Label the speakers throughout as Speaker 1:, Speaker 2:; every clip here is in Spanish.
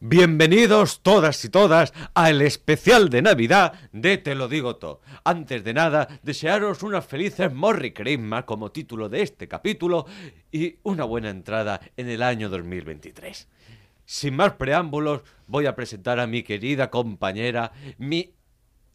Speaker 1: Bienvenidos todas y todas al especial de Navidad de Te lo digo todo. Antes de nada, desearos unas felices Morri Christmas como título de este capítulo y una buena entrada en el año 2023. Sin más preámbulos, voy a presentar a mi querida compañera, mi,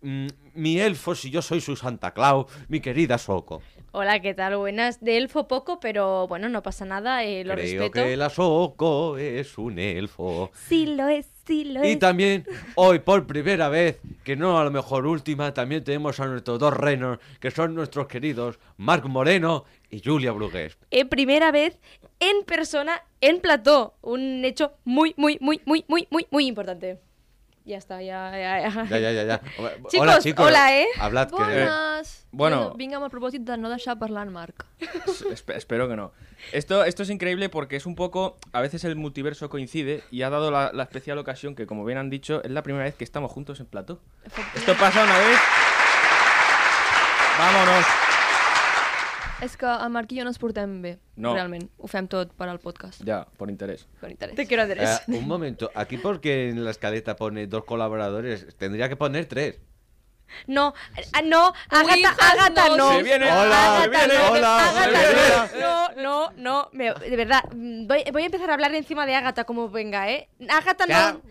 Speaker 1: mm, mi elfo si yo soy su Santa Claus, mi querida Soco.
Speaker 2: Hola, ¿qué tal? Buenas. De elfo poco, pero bueno, no pasa nada, eh, lo
Speaker 1: Creo
Speaker 2: respeto.
Speaker 1: que la Soco es un elfo.
Speaker 2: Sí lo es, sí lo
Speaker 1: Y
Speaker 2: es.
Speaker 1: también, hoy por primera vez, que no a lo mejor última, también tenemos a nuestros dos renos, que son nuestros queridos Marc Moreno y Julia Brugués.
Speaker 2: Eh, primera vez en persona, en plató. Un hecho muy, muy, muy, muy, muy, muy, muy importante. Ya está, ya, ya, ya.
Speaker 1: Ya, ya, ya, ya.
Speaker 2: Chicos, hola, eh.
Speaker 1: Hablad que...
Speaker 3: Bones!
Speaker 4: bueno.
Speaker 3: Jo Vinc amb el propòsit de no deixar parlar en Marc.
Speaker 4: Es- espe- espero que no. Esto, esto es increíble porque es un poco. A veces el multiverso coincide y ha dado la, la especial ocasión que, como bien han dicho, es la primera vez que estamos juntos en plató. Esto pasa una vez. Vámonos.
Speaker 3: És que el Marc i jo no ens portem bé,
Speaker 4: No.
Speaker 3: realment. Ho fem tot per al podcast.
Speaker 4: Ya, por interés.
Speaker 3: Per interès.
Speaker 2: Te quiero hacer
Speaker 1: Eh,
Speaker 2: eso.
Speaker 1: un momento, aquí porque en la escaleta pone dos colaboradores, tendría que poner tres.
Speaker 2: No, ah, no, Ágata,
Speaker 3: hijas,
Speaker 2: Ágata,
Speaker 3: no.
Speaker 2: no.
Speaker 4: Se viene,
Speaker 1: Hola,
Speaker 2: Ágata,
Speaker 4: se viene,
Speaker 2: no.
Speaker 1: hola,
Speaker 2: Ágata,
Speaker 1: se
Speaker 4: viene.
Speaker 2: no. No, no, no. Me- De verdad, mm, voy, voy a empezar a hablar encima de Ágata como venga, ¿eh? Ágata, no.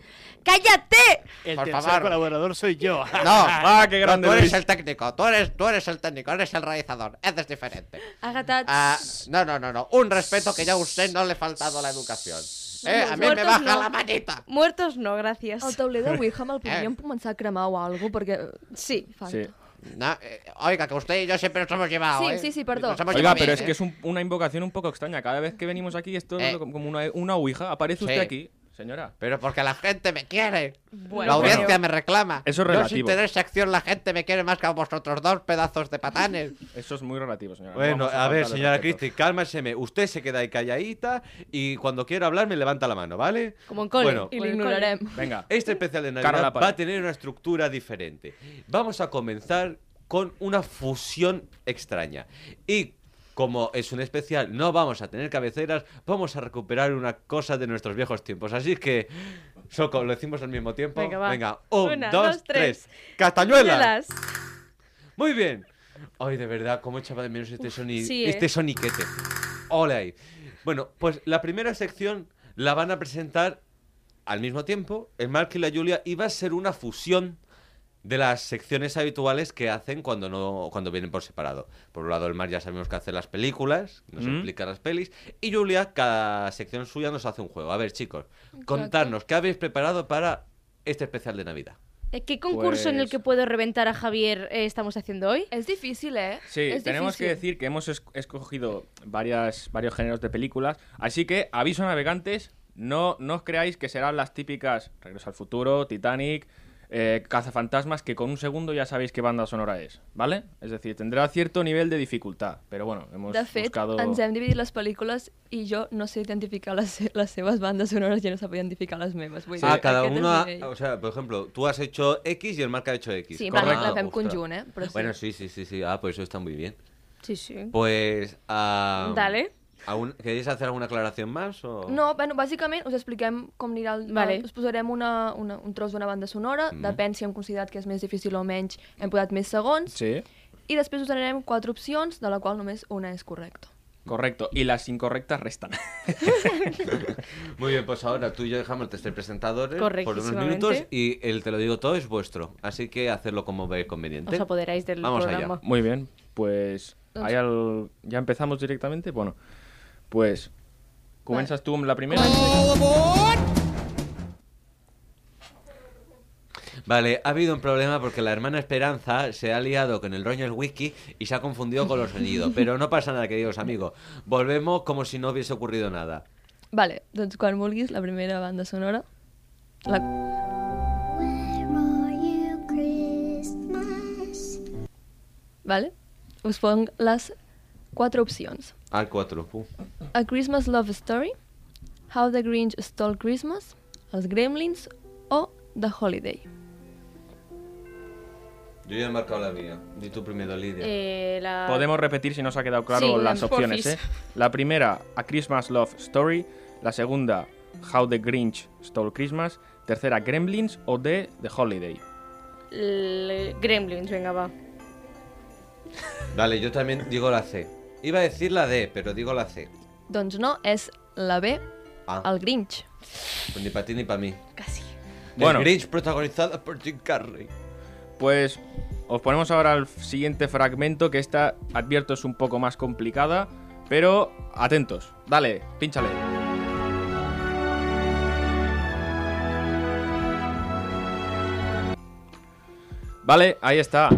Speaker 2: ¡Cállate!
Speaker 5: El
Speaker 1: Por
Speaker 5: tercer
Speaker 1: favor.
Speaker 5: colaborador soy yo.
Speaker 4: Ah, qué grande
Speaker 1: tú eres
Speaker 4: Luis.
Speaker 1: el técnico, tú eres, tú eres el técnico, eres el realizador, es diferente.
Speaker 2: Ágata,
Speaker 1: Ah, no, no, no, no, un respeto que ya a usted no le ha faltado la educación. Eh, a mí me
Speaker 2: Pues Muertos
Speaker 1: baja
Speaker 2: no.
Speaker 1: la manita.
Speaker 2: muertos no,
Speaker 3: El
Speaker 2: gracias.
Speaker 3: tauler de Wickham el podríem començar a cremar o alguna cosa, perquè...
Speaker 2: Sí.
Speaker 3: Falta.
Speaker 4: Sí.
Speaker 3: Eh. Sí.
Speaker 1: No, eh, oiga, que usted y yo siempre nos hemos llevado.
Speaker 3: Sí,
Speaker 1: ¿eh?
Speaker 3: sí, sí, perdón.
Speaker 1: Nos hemos
Speaker 4: Oiga,
Speaker 1: llevado
Speaker 4: pero
Speaker 1: bien,
Speaker 4: es
Speaker 1: ¿eh?
Speaker 4: que es un- una invocación un poco extraña. Cada vez que venimos aquí, esto es
Speaker 1: Eh.
Speaker 4: como una, una ouija. Aparece usted
Speaker 1: Sí.
Speaker 4: aquí, señora.
Speaker 1: Pero porque la gente me quiere.
Speaker 2: Bueno,
Speaker 1: la audiencia
Speaker 2: pero-
Speaker 1: me reclama.
Speaker 4: Eso es
Speaker 1: Yo sin
Speaker 4: relativo.
Speaker 1: tener sección la gente me quiere más que a vosotros dos pedazos de patanes.
Speaker 4: Eso es muy relativo, señora. No
Speaker 1: Bueno,
Speaker 4: vamos
Speaker 1: a ver,
Speaker 4: faltarle
Speaker 1: señora
Speaker 4: respeto.
Speaker 1: Cristi, cálmaseme. Usted se queda ahí calladita y cuando quiera hablar me levanta la mano, ¿vale?
Speaker 2: Como en cole.
Speaker 1: Bueno,
Speaker 2: Y
Speaker 3: I
Speaker 2: lo
Speaker 3: l'ignorarem.
Speaker 4: Venga.
Speaker 1: Este especial de
Speaker 4: Cara a
Speaker 1: Navidad
Speaker 4: la pared.
Speaker 1: va a tener una estructura diferente. Vamos a comenzar con una fusión extraña. Y como es un especial, no vamos a tener cabeceras, vamos a recuperar una cosa de nuestros viejos tiempos. Así que, Soco, lo decimos al mismo tiempo.
Speaker 2: Venga, va.
Speaker 1: un,
Speaker 2: Una,
Speaker 1: dos,
Speaker 2: dos, tres.
Speaker 1: tres. ¡Castañuelas!
Speaker 2: Castañuelas.
Speaker 1: Muy bien. Ay, de verdad, cómo echaba de menos este, soni-
Speaker 2: sí, ¿eh?
Speaker 1: este soniquete. Ole ahí. Bueno, pues la primera sección la van a presentar al mismo tiempo, el Mark y la Julia, y va a ser una fusión de las secciones habituales que hacen cuando no cuando vienen por separado. Por un lado, el Mark ya sabemos que hace las películas, nos
Speaker 4: Mm.
Speaker 1: explica las pelis, y Julia, cada sección suya nos hace un juego. A ver, chicos, contadnos, ¿qué habéis preparado para este especial de Navidad?
Speaker 2: Eh, ¿Qué concurso en el
Speaker 4: Pues-
Speaker 2: que puedo reventar a Javier eh, estamos haciendo hoy?
Speaker 3: És difícil, eh?
Speaker 4: Sí,
Speaker 3: és
Speaker 4: tenemos que
Speaker 3: difícil.
Speaker 4: decir que hemos es- escogido varias, varios géneros de películas. Así que, aviso navegantes, no, no os creáis que serán las típicas Regreso al futuro, Titanic, eh, Cazafantasmas, que con un segundo ya sabéis qué banda sonora es, ¿vale? Es decir, tendrá cierto nivel de dificultad. Pero bueno, hemos
Speaker 3: De fet,
Speaker 4: buscado.
Speaker 3: ens hem dividit les pel·lícules i jo no sé identificar les, se- les seves bandes sonores i no sap identificar les meves. Vull
Speaker 1: ah,
Speaker 3: dir,
Speaker 1: cada
Speaker 3: aquest és
Speaker 1: uno, ha-
Speaker 3: nivell.
Speaker 1: o sea, por ejemplo, tú has hecho X y el Marc ha hecho X.
Speaker 3: Sí, en
Speaker 4: plan,
Speaker 1: Correcto.
Speaker 4: la
Speaker 3: fem
Speaker 1: Ostras.
Speaker 3: conjunt, eh, però sí.
Speaker 1: Bueno, sí, sí, sí, sí. Ah, pues eso está muy bien.
Speaker 2: Sí, sí.
Speaker 1: Pues, ah,
Speaker 2: Dale.
Speaker 1: ¿aún- ¿Queréis hacer alguna aclaración más? O...
Speaker 3: No, bueno, bàsicament us expliquem com anirà el...
Speaker 2: Vale.
Speaker 3: Vale. Us posarem una, una, un tros d'una banda sonora, mm. depèn si hem considerat que és més difícil o menys, hem posat més segons,
Speaker 4: Sí.
Speaker 3: i després us donarem quatre opcions, de la qual només una és correcta.
Speaker 4: Correcto. Y las incorrectas restan.
Speaker 1: Muy bien, pues ahora tú y yo dejamos de ser presentadores por unos
Speaker 2: Correctísimamente.
Speaker 1: minutos y el te lo digo todo es vuestro. Así que hacerlo como veis conveniente.
Speaker 2: Os apoderáis del
Speaker 1: Vamos allá.
Speaker 2: programa.
Speaker 4: Muy bien, pues hay al- ya empezamos directamente. Bueno, pues comienzas tú en la primera.
Speaker 1: Vale, ha habido un problema porque la hermana Esperanza se ha liado con el rollo del whisky y se ha confundido con los sonidos. Pero no pasa nada, queridos amigos. Volvemos como si no hubiese ocurrido nada.
Speaker 3: Vale, doncs quan vulguis, la primera banda sonora. La...
Speaker 5: Where are you, Christmas?
Speaker 3: Vale? Us ponc les quatre opcions.
Speaker 1: Al 4.
Speaker 3: A Christmas Love Story, How the Grinch Stole Christmas, Els Gremlins o The Holiday.
Speaker 1: Yo ya he marcado la mía. Di tú primero, Lidia.
Speaker 2: Eh, la...
Speaker 4: Podemos repetir si nos ha quedado claro
Speaker 2: Sí,
Speaker 4: las
Speaker 2: la-
Speaker 4: opciones.
Speaker 2: porfis.
Speaker 4: ¿eh? La primera, A Christmas Love Story. La segunda, How the Grinch Stole Christmas. Tercera, Gremlins o de The Holiday.
Speaker 2: l- eh, Gremlins, venga, va.
Speaker 1: Vale, yo también digo la C. Iba a decir la D, pero digo la C.
Speaker 3: Doncs no, és la B,
Speaker 1: Ah.
Speaker 3: El Grinch.
Speaker 1: Pues ni para ti ni para mí.
Speaker 2: Casi.
Speaker 1: Bueno.
Speaker 4: Bueno.
Speaker 1: Grinch protagonizada por Jim Carrey.
Speaker 4: Pues os ponemos ahora al siguiente fragmento, que esta, advierto, es un poco más complicada. Pero atentos. Dale, pínchale. Vale, ahí está.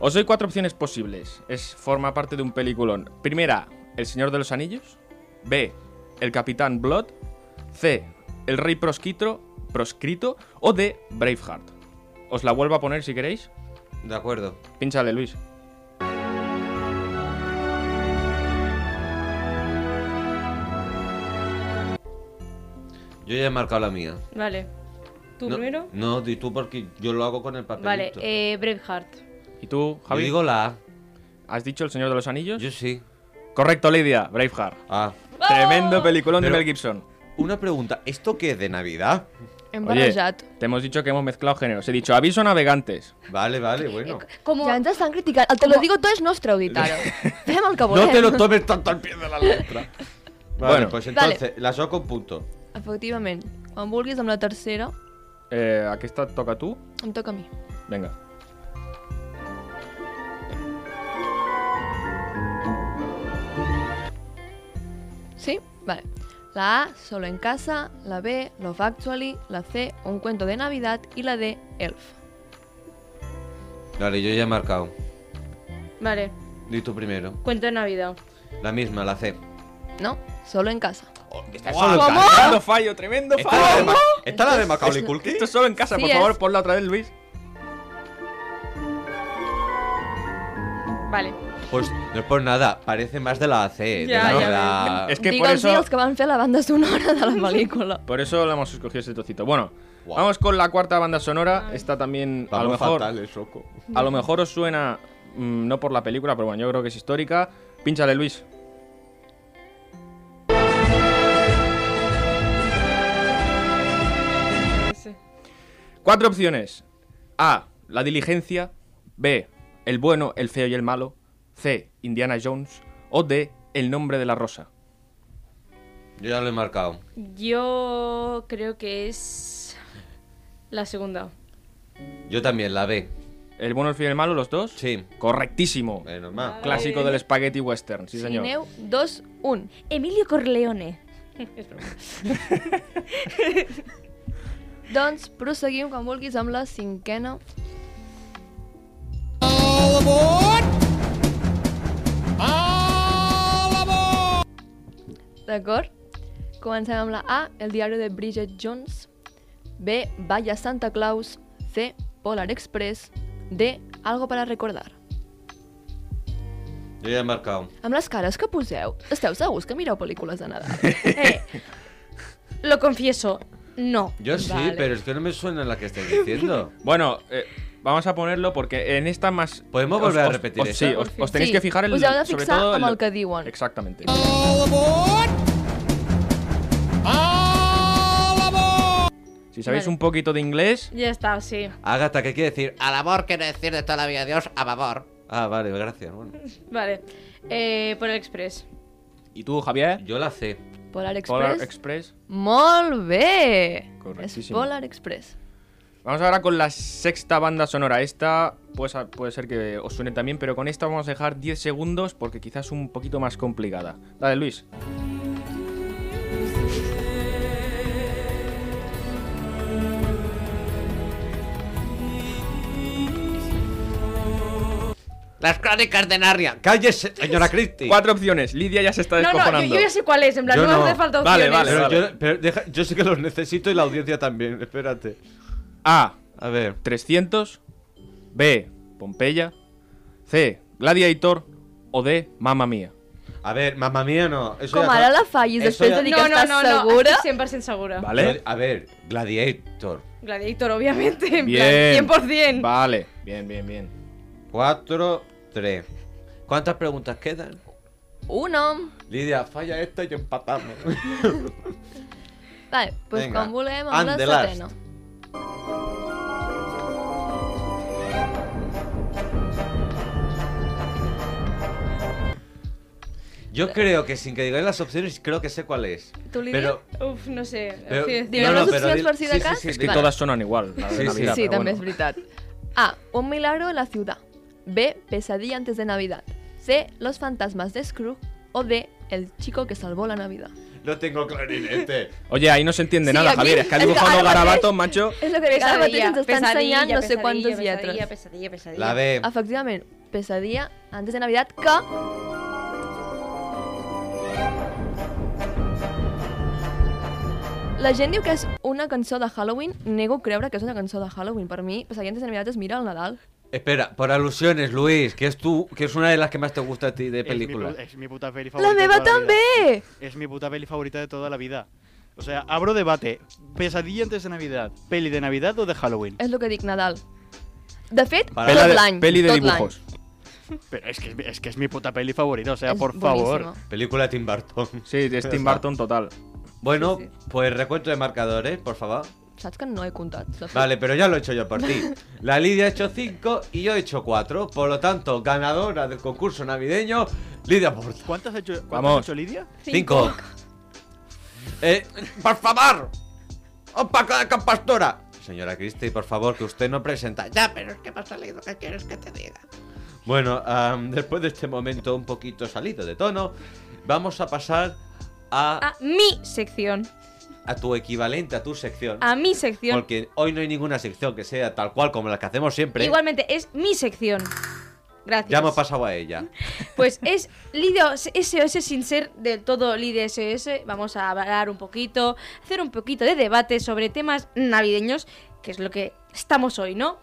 Speaker 4: Os doy cuatro opciones posibles. Es forma parte de un peliculón. Primera, El Señor de los Anillos. B, El Capitán Blood. C, El Rey Proscrito, proscrito o D, Braveheart. Os la vuelvo a poner si queréis.
Speaker 1: De acuerdo.
Speaker 4: Pínchale, Luis.
Speaker 1: Yo ya he marcado la mía.
Speaker 2: Vale. ¿Tú
Speaker 1: no,
Speaker 2: primero?
Speaker 1: No, di tú porque yo lo hago con el papelito.
Speaker 2: Vale, eh, Braveheart.
Speaker 4: ¿Y tú,
Speaker 1: Yo
Speaker 4: Javi?
Speaker 1: digo la A.
Speaker 4: ¿Has dicho El Señor de los Anillos?
Speaker 1: Yo sí.
Speaker 4: Correcto, Lidia. Braveheart.
Speaker 1: Ah.
Speaker 3: ¡Oh!
Speaker 4: Tremendo peliculón
Speaker 1: Pero-
Speaker 4: de Mel Gibson.
Speaker 1: Una pregunta. ¿Esto qué es de Navidad?
Speaker 3: Hem
Speaker 4: Oye,
Speaker 3: barrejat.
Speaker 4: te hemos dicho que hemos mezclado géneros. He dicho aviso navegantes.
Speaker 1: Vale, vale, bueno.
Speaker 2: Como...
Speaker 3: Ja ens estan criticant. El Te lo digo todo és nostre, auditar-ho. Fem el que volem.
Speaker 1: No te lo tomes tanto al pie de la letra. Vale,
Speaker 4: Bueno.
Speaker 1: pues
Speaker 3: Vale.
Speaker 1: entonces, la soco con punto.
Speaker 3: Efectivament. Quan vulguis, amb la tercera,
Speaker 4: Eh, ¿A qué esta toca tú?
Speaker 3: em toca a mi.
Speaker 4: Venga.
Speaker 3: Sí? Vale. La A, Solo en casa, la B, Love Actually, la C, Un cuento de Navidad y la D, Elf.
Speaker 1: Vale, yo ya he marcado.
Speaker 2: Vale,
Speaker 1: Di tú primero.
Speaker 2: cuento de Navidad.
Speaker 1: La misma, la C.
Speaker 3: No, Solo en casa.
Speaker 4: Tremendo fallo, tremendo
Speaker 1: ¿Está la de
Speaker 4: fallo.
Speaker 1: Ma- ¿Está la de Macaulay Culkin?
Speaker 4: Esto es solo en casa,
Speaker 3: Sí,
Speaker 4: por favor,
Speaker 3: es.
Speaker 4: ponla otra vez, Luis.
Speaker 2: Vale.
Speaker 1: Pues no es por nada, parece más de la C.
Speaker 2: Ya,
Speaker 1: de la,
Speaker 2: ya
Speaker 1: la-
Speaker 4: Es que por
Speaker 3: Digue'ls-hi
Speaker 4: eso-
Speaker 3: els que van fer la banda sonora de la pel·lícula.
Speaker 4: Por eso lo hemos escogido este trocito. Bueno,
Speaker 1: Guau.
Speaker 4: vamos con la cuarta banda sonora. Esta también, a lo
Speaker 1: Vamos
Speaker 4: mejor,
Speaker 1: fatal, el soco.
Speaker 4: a lo mejor os suena, mm, no por la película, pero bueno, yo creo que es histórica. Pínchale, Luis. Cuatro opciones. A. La diligencia. B. El bueno, el feo y el malo. C. Indiana Jones. O D. El nombre de la rosa.
Speaker 1: Yo ya lo he marcado.
Speaker 2: Yo creo que es la segunda.
Speaker 1: Yo también, la B.
Speaker 4: El bueno, el feo y el malo, los dos.
Speaker 1: Sí. Eh.
Speaker 4: Correctísimo.
Speaker 1: Menos mal.
Speaker 4: Clásico del spaghetti western, sí señor.
Speaker 3: Sineu 2-1.
Speaker 2: Emilio Corleone.
Speaker 3: Doncs proseguim quan vulguis amb la cinquena. D'acord? Comencem amb la A, El diari de Bridget Jones. B, Vaya Santa Claus. C, Polar Express. D, Algo para recordar.
Speaker 1: Yo ya he marcado.
Speaker 3: Amb les cares que poseu, esteu segurs que mireu pel·lícules de Nadal?
Speaker 2: Eh, lo confieso, no.
Speaker 1: Yo sí,
Speaker 3: Vale.
Speaker 1: pero es que no me suena la que estáis diciendo.
Speaker 4: Bueno, eh, vamos a ponerlo porque en esta más...
Speaker 1: ¿Podemos
Speaker 4: os-
Speaker 1: volver a
Speaker 4: os-
Speaker 1: repetir
Speaker 4: os-
Speaker 1: esta?
Speaker 4: Sí, os, os tenéis
Speaker 3: Sí,
Speaker 4: que fijar en
Speaker 2: pues
Speaker 3: us heu de
Speaker 4: sobre
Speaker 3: fixar
Speaker 4: todo
Speaker 3: amb
Speaker 4: en
Speaker 3: el que diuen.
Speaker 4: Exactamente. Si sabéis
Speaker 2: Vale.
Speaker 4: un poquito de inglés,
Speaker 2: Ya está, sí.
Speaker 1: Agatha, ¿qué quiere decir? Al amor quiere decir de toda la vida Dios, a favor. Ah, vale, gracias. Bueno.
Speaker 2: Vale. Eh, por el Express.
Speaker 4: ¿y tú, Javier?
Speaker 1: Yo la C.
Speaker 3: Polar Express?
Speaker 4: Polar Express.
Speaker 3: Molt bé! És
Speaker 4: Correctíssim.
Speaker 3: Polar Express.
Speaker 4: Vamos ahora con la sexta banda sonora. Esta pues, a- puede ser que os suene también, pero con esta vamos a dejar 10 segundos porque quizás es un poquito más complicada. Dale, Luis.
Speaker 1: Las crónicas de Narnia. Cállese, señora Christie.
Speaker 4: Cuatro opciones. Lidia ya se está
Speaker 2: No, no, yo,
Speaker 4: descojonando.
Speaker 2: yo ya sé cuál es, en plan,
Speaker 1: Yo
Speaker 2: no,
Speaker 1: no.
Speaker 2: me hace falta
Speaker 4: Vale,
Speaker 2: opciones.
Speaker 4: vale,
Speaker 1: Pero
Speaker 4: vale.
Speaker 1: Yo, pero deja- yo sé que los necesito y la audiencia también. Espérate.
Speaker 4: A.
Speaker 1: A ver.
Speaker 4: 300. B. Pompeya. C. Gladiator. O D. Mamma mía.
Speaker 1: A ver, mamá mía, no. Eso
Speaker 3: Com
Speaker 1: ya-
Speaker 3: ara la fallis,
Speaker 1: Eso
Speaker 3: després
Speaker 1: ja-
Speaker 3: de dir que
Speaker 2: No, no,
Speaker 3: estàs
Speaker 2: no, no,
Speaker 3: segura...
Speaker 2: aquí 100% segura.
Speaker 4: ¿Vale?
Speaker 1: A ver, Gladiator.
Speaker 2: Gladiator, obviamente, en
Speaker 4: Bien.
Speaker 2: plan, 100%.
Speaker 4: Vale. Bien, bien, bien.
Speaker 1: 4, 3. ¿Cuántas preguntas quedan?
Speaker 3: Uno.
Speaker 1: Lidia, falla esta y empatamos.
Speaker 3: Vale, pues doncs
Speaker 1: Vinga.
Speaker 3: quan volem,
Speaker 1: And
Speaker 3: amb la
Speaker 1: the last.
Speaker 3: setena.
Speaker 1: Yo creo que sin que digáis las opciones, creo que sé cuál es.
Speaker 3: ¿Tú, Lidia?
Speaker 1: Pero,
Speaker 2: Uf, no sé.
Speaker 1: pero-
Speaker 2: Sí,
Speaker 3: Dime las
Speaker 1: pero
Speaker 3: opciones
Speaker 1: di-
Speaker 3: por si de
Speaker 1: sí, sí,
Speaker 3: acá.
Speaker 1: sí,
Speaker 4: Es que
Speaker 1: di-
Speaker 3: Vale.
Speaker 4: todas sonan igual. la de
Speaker 1: Sí, sí.
Speaker 4: Navidad,
Speaker 3: Sí,
Speaker 4: pero
Speaker 3: també
Speaker 4: bueno.
Speaker 3: és veritat. A. Un milagro en la ciudad. B. Pesadilla antes de Navidad. C. Los fantasmas de Scrooge. O D. El chico que salvó la Navidad.
Speaker 1: No tengo clarinete.
Speaker 4: Oye, ahí no se entiende
Speaker 3: Sí,
Speaker 4: nada,
Speaker 3: aquí-
Speaker 4: Javier. Es que ha
Speaker 3: es que
Speaker 4: dibujado unos
Speaker 3: ara mateix-
Speaker 4: garabatos, macho.
Speaker 3: És el que dic, ara mateix ens està
Speaker 2: pesadilla,
Speaker 3: ensenyant no sé
Speaker 2: pesadilla,
Speaker 3: quantes
Speaker 2: pesadilla,
Speaker 3: lletres.
Speaker 2: Pesadilla, pesadilla,
Speaker 1: La B.
Speaker 3: Efectivament, pesadilla antes de Navidad que... La gent diu que és una cançó de Halloween. Nego creure que és una cançó de Halloween. Per mi, Pesadilla antes de Navidad es Mira el Nadal.
Speaker 1: Espera, por alusiones, Luis, que es tú, que es una de las que más te gusta a ti de
Speaker 6: Es mi
Speaker 1: película.
Speaker 6: pu- Es mi, puta peli
Speaker 3: La
Speaker 6: favorita. de
Speaker 3: meva
Speaker 6: toda la vida.
Speaker 3: també!
Speaker 6: Es mi puta peli favorita de toda la vida. O sea, abro debate. Pesadilla antes de Navidad. ¿Peli de Navidad o de Halloween?
Speaker 3: És el que dic, Nadal. De fet,
Speaker 1: Para-
Speaker 4: Pela
Speaker 3: tot
Speaker 4: de-
Speaker 3: l'any.
Speaker 4: peli de
Speaker 3: tot l'any.
Speaker 4: dibujos.
Speaker 6: Pero es que es, mi- es que es mi puta peli favorita. O sea,
Speaker 3: És
Speaker 6: por
Speaker 3: boníssima.
Speaker 6: favor.
Speaker 1: Película de Tim Burton.
Speaker 4: Sí, de Tim Burton total.
Speaker 1: Bueno, pues recuento de marcadores, por favor.
Speaker 3: Saps que no he comptat? de fet.
Speaker 1: Vale, pero ya lo he hecho yo por ti. La Lidia ha hecho 5 y yo he hecho 4. Por lo tanto, ganadora del concurso navideño, Lidia Porta.
Speaker 6: ¿Cuántas ha hecho, cuántas
Speaker 4: Vamos.
Speaker 6: ha hecho Lidia?
Speaker 1: 5. Eh, por favor. Un poco de compastora. Señora Cristi, por favor, que usted no presenta. Ya, pero es que me ha salido. ¿Qué quieres que te diga? Bueno, am, después de este momento un poquito salido de tono, vamos a pasar a,
Speaker 2: A mi sección.
Speaker 1: a tu equivalente, a tu sección.
Speaker 2: A mi sección.
Speaker 1: Porque hoy no hay ninguna sección que sea tal cual como la que hacemos siempre.
Speaker 2: Igualmente, es mi sección. Gracias.
Speaker 1: Ya hemos pasado a ella.
Speaker 2: Pues es Lidia SOS sin ser del todo Lidia SOS. Vamos a hablar un poquito, hacer un poquito de debate sobre temas navideños, que es lo que estamos hoy, ¿no?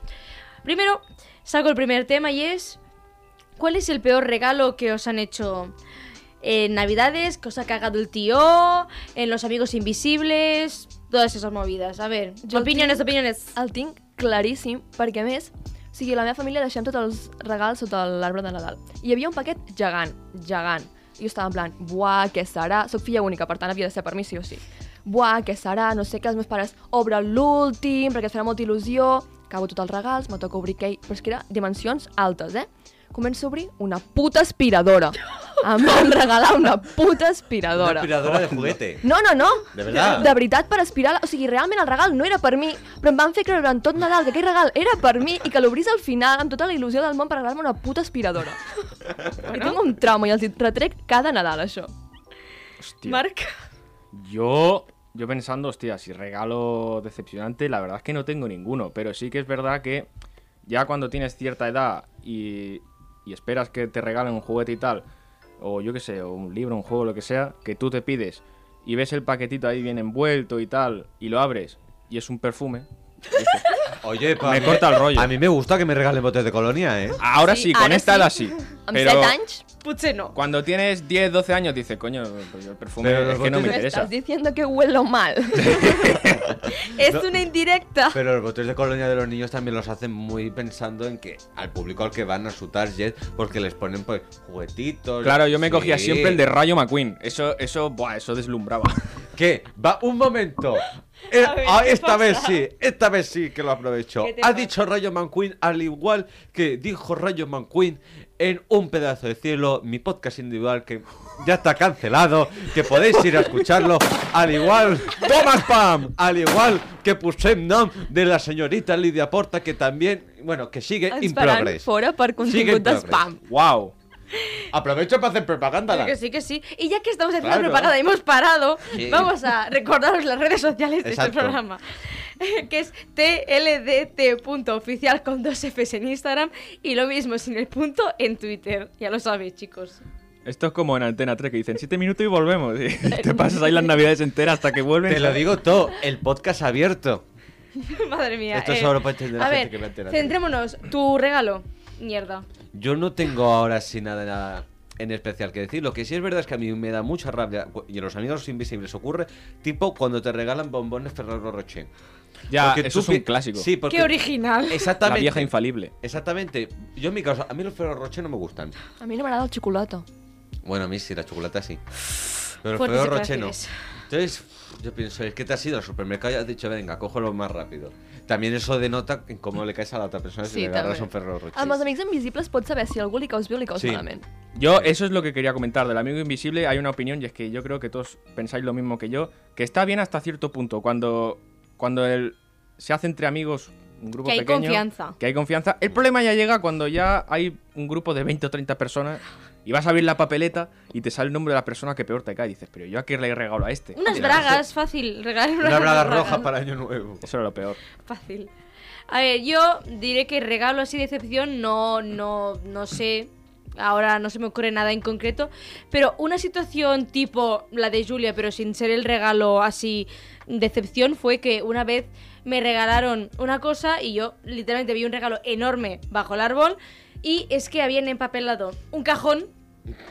Speaker 2: Primero, saco el primer tema y es... ¿Cuál es el peor regalo que os han hecho en Navidades? ¿Que os ha cagado el tío? ¿En los amigos invisibles? Todas esas movidas. A ver,
Speaker 3: Yo
Speaker 2: opiniones,
Speaker 3: tengo-
Speaker 2: opiniones.
Speaker 3: El tinc claríssim, perquè a més, o sigui, la meva família deixem tots els regals sota l'arbre de Nadal. I hi havia un paquet gegant, gegant. I jo estava en plan, buah, què serà? Soc filla única, per tant havia de ser per mi sí o sí. Buah, què serà? No sé què, els meus pares obren l'últim, perquè et farà molta il·lusió. Acabo tots els regals, me toca obrir aquell... Però és que era dimensions altes, eh? Començo a obrir una puta aspiradora. Em van regalar una puta
Speaker 1: Una
Speaker 3: aspiradora.
Speaker 1: aspiradora de juguete.
Speaker 3: No, no, no.
Speaker 1: De veritat?
Speaker 3: De veritat, per espiral. O sigui, realment el regal no era per mi, però em van fer creure durant tot Nadal que aquell regal era per mi i que l'obrís al final amb tota la il·lusió del món per regalar-me una puta aspiradora. I tinc un trauma i els hi retrec cada Nadal, això.
Speaker 4: Hostia.
Speaker 2: Marc.
Speaker 4: Yo, yo pensando, hostia, si regalo decepcionante, la verdad es que no tengo ninguno, pero sí que es verdad que ya cuando tienes cierta edad y, y esperas que te regalen un juguete y tal, o yo qué sé, o un libro, un juego, lo que sea, que tú te pides y ves el paquetito ahí bien envuelto y tal, y lo abres y es un perfume. dices,
Speaker 1: Oye, pues
Speaker 4: Me
Speaker 1: a mí
Speaker 4: corta el rollo.
Speaker 1: A mí me gusta que me regalen botes de colonia, ¿eh?
Speaker 4: ahora
Speaker 3: Sí,
Speaker 4: sí, con
Speaker 3: ahora
Speaker 4: esta
Speaker 3: sí.
Speaker 4: edad sí.
Speaker 3: Amb
Speaker 4: Però
Speaker 3: 7 anys,
Speaker 2: Puche no.
Speaker 4: cuando tienes 10, 12 años dices, coño, pues yo el perfume
Speaker 1: Pero
Speaker 4: es
Speaker 1: los
Speaker 4: que no me
Speaker 3: me
Speaker 1: botes-
Speaker 4: interesa.
Speaker 3: estás diciendo que huelo mal.
Speaker 2: Es
Speaker 1: No.
Speaker 2: una indirecta.
Speaker 1: Pero los botes de colonia de los niños también los hacen muy pensando en que al público al que van a su target, porque les ponen pues juguetitos.
Speaker 4: Claro, yo me
Speaker 1: Sí.
Speaker 4: cogía siempre el de Rayo McQueen. Eso, eso, buah, eso deslumbraba.
Speaker 1: ¿Qué? Va, un momento. Eh,
Speaker 2: A ver,
Speaker 1: ah,
Speaker 2: ¿qué
Speaker 1: esta vez
Speaker 2: pasa?
Speaker 1: sí, esta vez sí que lo aprovecho.
Speaker 2: ¿Qué te
Speaker 1: Ha
Speaker 2: pasa?
Speaker 1: dicho Rayo McQueen al igual que dijo Rayo McQueen en Un pedazo de cielo, mi podcast individual que ya está cancelado, que podéis ir a escucharlo, al igual ¡Toma spam! Al igual que Pusem Nom de la señorita Lidia Porta que también, bueno, que sigue
Speaker 2: Ah,
Speaker 1: in
Speaker 3: Ens faran
Speaker 1: progress.
Speaker 3: fora per
Speaker 1: Sigue in
Speaker 3: contingut
Speaker 1: progress.
Speaker 3: d'espam.
Speaker 4: ¡Wow!
Speaker 1: Aprovecho para hacer propaganda.
Speaker 2: Que
Speaker 1: Dan.
Speaker 2: sí, que sí. Y ya que estamos haciendo
Speaker 1: Claro.
Speaker 2: propaganda y hemos parado,
Speaker 1: Sí.
Speaker 2: vamos a recordaros las redes sociales de
Speaker 1: Exacto.
Speaker 2: este programa. que es tldt.oficial con dos Fs en Instagram y lo mismo sin el punto en Twitter. Ya lo sabéis, chicos.
Speaker 4: Esto es como en Antena 3 que dicen 7 minutos y volvemos. Y te pasas ahí las navidades enteras hasta que vuelven.
Speaker 1: Te lo digo todo, el podcast abierto.
Speaker 2: Madre mía.
Speaker 1: Esto
Speaker 2: eh.
Speaker 1: solo puede entender la
Speaker 2: a
Speaker 1: gente
Speaker 2: ver,
Speaker 1: que ve Antena tres.
Speaker 2: centrémonos. Tu regalo. Mierda.
Speaker 1: Yo no tengo ahora sí nada, nada en especial que decir. Lo que sí es verdad es que a mí me da mucha rabia cu- y a los amigos invisibles ocurre, tipo cuando te regalan bombones Ferrero Rocher.
Speaker 4: Ya,
Speaker 1: Porque tú
Speaker 4: eso es un
Speaker 1: pi-
Speaker 4: clásico.
Speaker 1: Sí, porque
Speaker 2: Qué original.
Speaker 4: la
Speaker 1: Exactamente.
Speaker 4: vieja infalible.
Speaker 1: Exactamente. Yo en mi caso, a mí los Ferrero Rocher no me gustan.
Speaker 3: A mí no me ha dado chocolate.
Speaker 1: Bueno, a mí sí, la chocolata sí. Pero el
Speaker 2: Fuertes
Speaker 1: Ferrero Rocher no.
Speaker 2: declaraciones.
Speaker 1: Entonces, yo pienso, es que te has ido al supermercado y has dicho, venga, cógelo más rápido. También eso denota en cómo le caes a la otra persona si
Speaker 3: Sí,
Speaker 1: le agarras
Speaker 3: també.
Speaker 1: un Ferrero Rocher.
Speaker 3: Amb els amics invisibles pots saber si algú li caus bé o li caus
Speaker 1: Sí.
Speaker 3: malament.
Speaker 4: Yo, eso es lo que quería comentar. Del amigo invisible hay una opinión y es que yo creo que todos pensáis lo mismo que yo. Que está bien hasta cierto punto. Cuando, cuando el- se hace entre amigos un grupo
Speaker 2: Que hay
Speaker 4: pequeño,
Speaker 2: confianza.
Speaker 4: Que hay confianza. El problema ya llega cuando ya hay un grupo de 20 o 30 personas y vas a abrir la papeleta y te sale el nombre de la persona que peor te cae. Y dices, pero yo a qué le he regalado a este.
Speaker 2: Unas
Speaker 4: Mira,
Speaker 2: bragas, fácil. Regalar
Speaker 1: Una
Speaker 2: unas
Speaker 1: braga
Speaker 2: bragas.
Speaker 1: roja para Año Nuevo.
Speaker 4: Eso era lo peor.
Speaker 2: Fácil. A ver, yo diré que regalo así de excepción no, no, no sé. Ahora no se me ocurre nada en concreto. Pero una situación tipo la de Julia, pero sin ser el regalo así de excepción, fue que una vez me regalaron una cosa y yo literalmente vi un regalo enorme bajo el árbol. Y es que habían empapelado un cajón.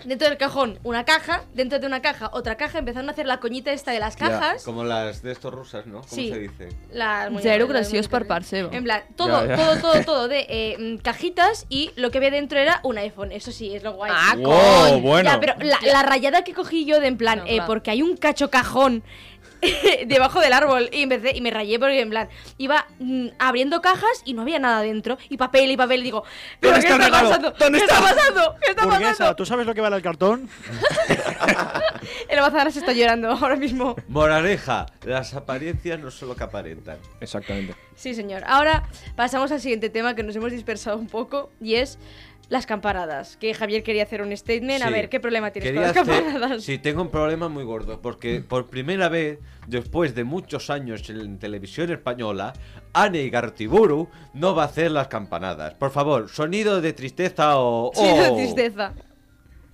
Speaker 2: Dentro del cajón, una caja. Dentro de una caja, otra caja. Empezaron a hacer la coñita esta de las cajas.
Speaker 1: Como las de estos rusas, ¿no? ¿Cómo
Speaker 2: Sí.
Speaker 1: se dice?
Speaker 2: La muñeca-
Speaker 3: Zero
Speaker 2: la
Speaker 3: graciós
Speaker 2: muñeca
Speaker 3: per part seva.
Speaker 2: En plan, todo,
Speaker 4: Ya, ya.
Speaker 2: todo, todo, todo de eh, mm, cajitas y lo que había dentro era un iPhone. Eso sí, es lo guay.
Speaker 3: Ah,
Speaker 4: Wow, coño. bueno.
Speaker 2: Ya, pero la, la rayada que cogí yo de en plan,
Speaker 3: No,
Speaker 2: eh,
Speaker 3: claro.
Speaker 2: porque hay un cacho cajón debajo del árbol y, empecé, y me rayé porque en plan, iba mm, abriendo cajas y no había nada dentro. Y papel y papel y digo, ¿pero
Speaker 4: ¿Dónde
Speaker 2: qué
Speaker 4: está el
Speaker 2: está
Speaker 4: regalo?
Speaker 2: pasando?
Speaker 4: ¿Dónde
Speaker 2: ¿Qué
Speaker 4: está?
Speaker 2: está pasando? ¿Qué está
Speaker 6: Burguesa,
Speaker 2: pasando?
Speaker 6: ¿tú sabes lo que vale el cartón?
Speaker 2: El Bazara se está llorando ahora mismo.
Speaker 1: Moraleja, las apariencias no son lo que aparentan.
Speaker 4: Exactamente.
Speaker 2: Sí, señor. Ahora pasamos al siguiente tema que nos hemos dispersado un poco y es las campanadas. Que Javier quería hacer un statement. A
Speaker 1: Sí.
Speaker 2: ver, ¿qué problema tienes
Speaker 1: Quería
Speaker 2: con las
Speaker 1: hacer-
Speaker 2: campanadas?
Speaker 1: Sí, tengo un problema muy gordo, porque por primera vez, después de muchos años en televisión española, Anne Gartiburu no va a hacer las campanadas. Por favor, sonido de tristeza o...
Speaker 2: Sí,
Speaker 1: o-
Speaker 2: la tristeza.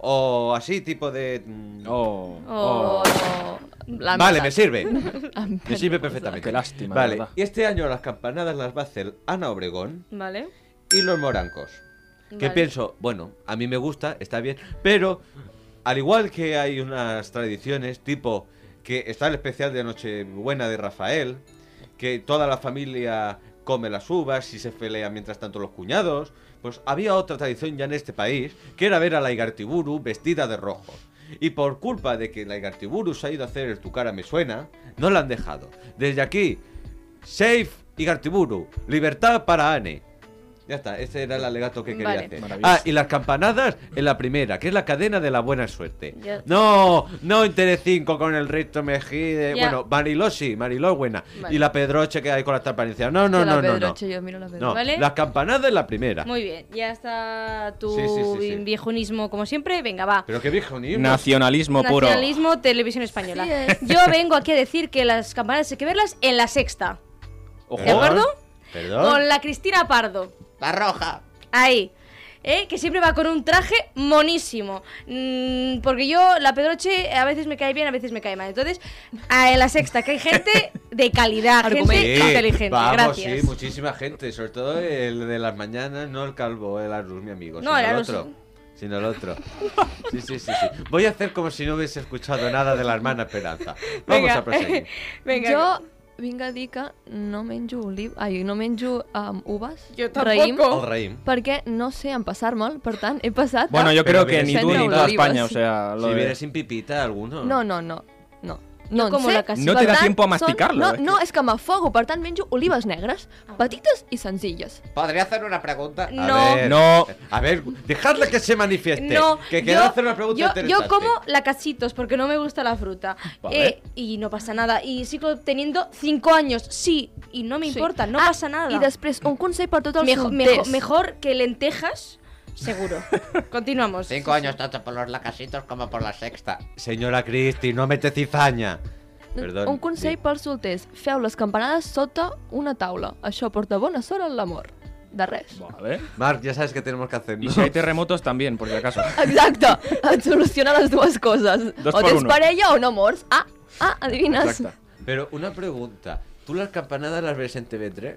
Speaker 1: O así, tipo de... mm,
Speaker 4: Oh,
Speaker 3: O...
Speaker 4: oh.
Speaker 3: l'han
Speaker 1: Vale, me
Speaker 3: matat.
Speaker 1: sirve.
Speaker 3: Em-
Speaker 1: Me sirve perfectamente.
Speaker 4: Qué lástima, de
Speaker 1: Vale,
Speaker 4: verdad.
Speaker 1: y este año las campanadas las va a hacer Ana Obregón
Speaker 2: Vale.
Speaker 1: y los morancos. Que
Speaker 2: Vale.
Speaker 1: pienso, bueno, a mí me gusta, está bien, pero al igual que hay unas tradiciones, tipo que está el especial de Nochebuena de Rafael, que toda la familia come las uvas y se pelea mientras tanto los cuñados, pues había otra tradición ya en este país, que era ver a la Igartiburu vestida de rojo. Y por culpa de que la Igartiburu se ha ido a hacer el Tu cara me suena, no la han dejado. Desde aquí, safe Igartiburu, libertad para Ane. Ya está, ese era el alegato que quería
Speaker 2: Vale.
Speaker 1: hacer.
Speaker 4: Maravilloso.
Speaker 1: Ah, y las campanadas en la primera, que es la cadena de la buena suerte.
Speaker 2: Ya.
Speaker 1: No, no en Telecinco con el Risto Mejide.
Speaker 2: Ya.
Speaker 1: Bueno, Mariló sí, Mariló es buena.
Speaker 2: Vale.
Speaker 1: Y la Pedroche que hay con la transparencia. No, no,
Speaker 3: Jo la
Speaker 1: no, no. no.
Speaker 3: Pedroche, jo miro la Pedroche.
Speaker 1: No,
Speaker 2: ¿Vale?
Speaker 1: las campanadas en la primera.
Speaker 2: Muy bien, ya está tu
Speaker 1: Sí, sí, sí, sí.
Speaker 2: viejunismo como siempre. Venga, va.
Speaker 1: Pero qué viejo ni
Speaker 4: Nacionalismo puro.
Speaker 2: Nacionalismo, televisión española.
Speaker 3: Así es.
Speaker 2: Yo vengo aquí a decir que las campanadas hay que verlas en la sexta. ¿De acuerdo?
Speaker 1: Perdón.
Speaker 2: Con la Cristina Pardo. La roja. Ahí. ¿Eh? Que siempre va con un traje monísimo. Mm, porque yo, la Pedroche, a veces me cae bien, a veces me cae mal. Entonces, a la sexta, que hay gente de calidad, gente
Speaker 1: Sí,
Speaker 2: inteligente.
Speaker 1: Vamos,
Speaker 2: Gracias.
Speaker 1: sí, muchísima gente. Sobre todo el de las mañanas, no el calvo, el Arus, mi amigo.
Speaker 2: No,
Speaker 1: sino
Speaker 2: el
Speaker 1: el,
Speaker 2: Arús.
Speaker 1: otro. Sino el otro. Sí, sí, sí, sí. Voy a hacer como si no hubiese escuchado nada de la hermana Esperanza. Vamos
Speaker 2: Venga,
Speaker 1: a proseguir.
Speaker 2: Venga.
Speaker 3: Jo vinc a dir que no menjo oliv... Ai, no menjo um, uves.
Speaker 2: Jo
Speaker 3: Raïm,
Speaker 2: tampoco.
Speaker 1: El raïm.
Speaker 3: perquè no sé en passar-me'l, per tant, he passat...
Speaker 4: Bueno,
Speaker 3: a-
Speaker 4: yo
Speaker 1: Pero
Speaker 4: creo que
Speaker 1: vienes
Speaker 4: ni
Speaker 3: siendo
Speaker 4: tú ni toda
Speaker 3: olivas.
Speaker 4: España, o sea, lo
Speaker 1: si
Speaker 4: de-
Speaker 1: viene sin pipita alguno.
Speaker 3: No, no, no, no. No, en
Speaker 2: como
Speaker 3: sé,
Speaker 2: la casi-
Speaker 4: No
Speaker 3: per
Speaker 4: te da
Speaker 3: tant,
Speaker 4: tiempo a
Speaker 3: són-
Speaker 4: masticarlo, eh?
Speaker 3: No,
Speaker 4: es que-
Speaker 3: no, és que m'afogo, per tant menjo olives negres,
Speaker 2: Ah,
Speaker 3: petites i senzilles.
Speaker 1: ¿Podría hacer una pregunta?
Speaker 2: No.
Speaker 1: A ver,
Speaker 4: No.
Speaker 1: A ver, dejadle que se manifieste.
Speaker 2: No,
Speaker 1: Este, que
Speaker 2: yo,
Speaker 1: quiero hacer una pregunta
Speaker 2: yo-
Speaker 1: interesante.
Speaker 2: yo como la cachitos porque no me gusta la fruta.
Speaker 4: Vale.
Speaker 2: Eh, y no pasa nada. Y sigo teniendo cinco años, sí, y no me
Speaker 3: Sí.
Speaker 2: importa, no pasa nada.
Speaker 3: I després, un consell per tots els
Speaker 2: Mejo-
Speaker 3: solters.
Speaker 2: mejo- mejor que lentejas, seguro. Continuamos.
Speaker 7: Cinco años tanto por los lacasitos como por la sexta.
Speaker 1: Señora Cristi, no mete cizaña. Perdón,
Speaker 3: un consell
Speaker 1: sí.
Speaker 3: pels solters. Feu les campanades sota una taula. Això porta bona sort en l'amor. De res.
Speaker 4: Vale.
Speaker 1: Marc, ya sabes que tenemos que hacer.
Speaker 4: Y
Speaker 1: ¿no?
Speaker 4: si hay terremotos también, por si acaso.
Speaker 3: Exacte. Et soluciona les dues coses.
Speaker 4: Dos
Speaker 3: o
Speaker 4: por
Speaker 3: tens
Speaker 4: uno.
Speaker 3: parella o no mors. Ah, ah, adivines.
Speaker 4: Exacte.
Speaker 1: Pero una pregunta. ¿Tú las campanadas las ves en TV3?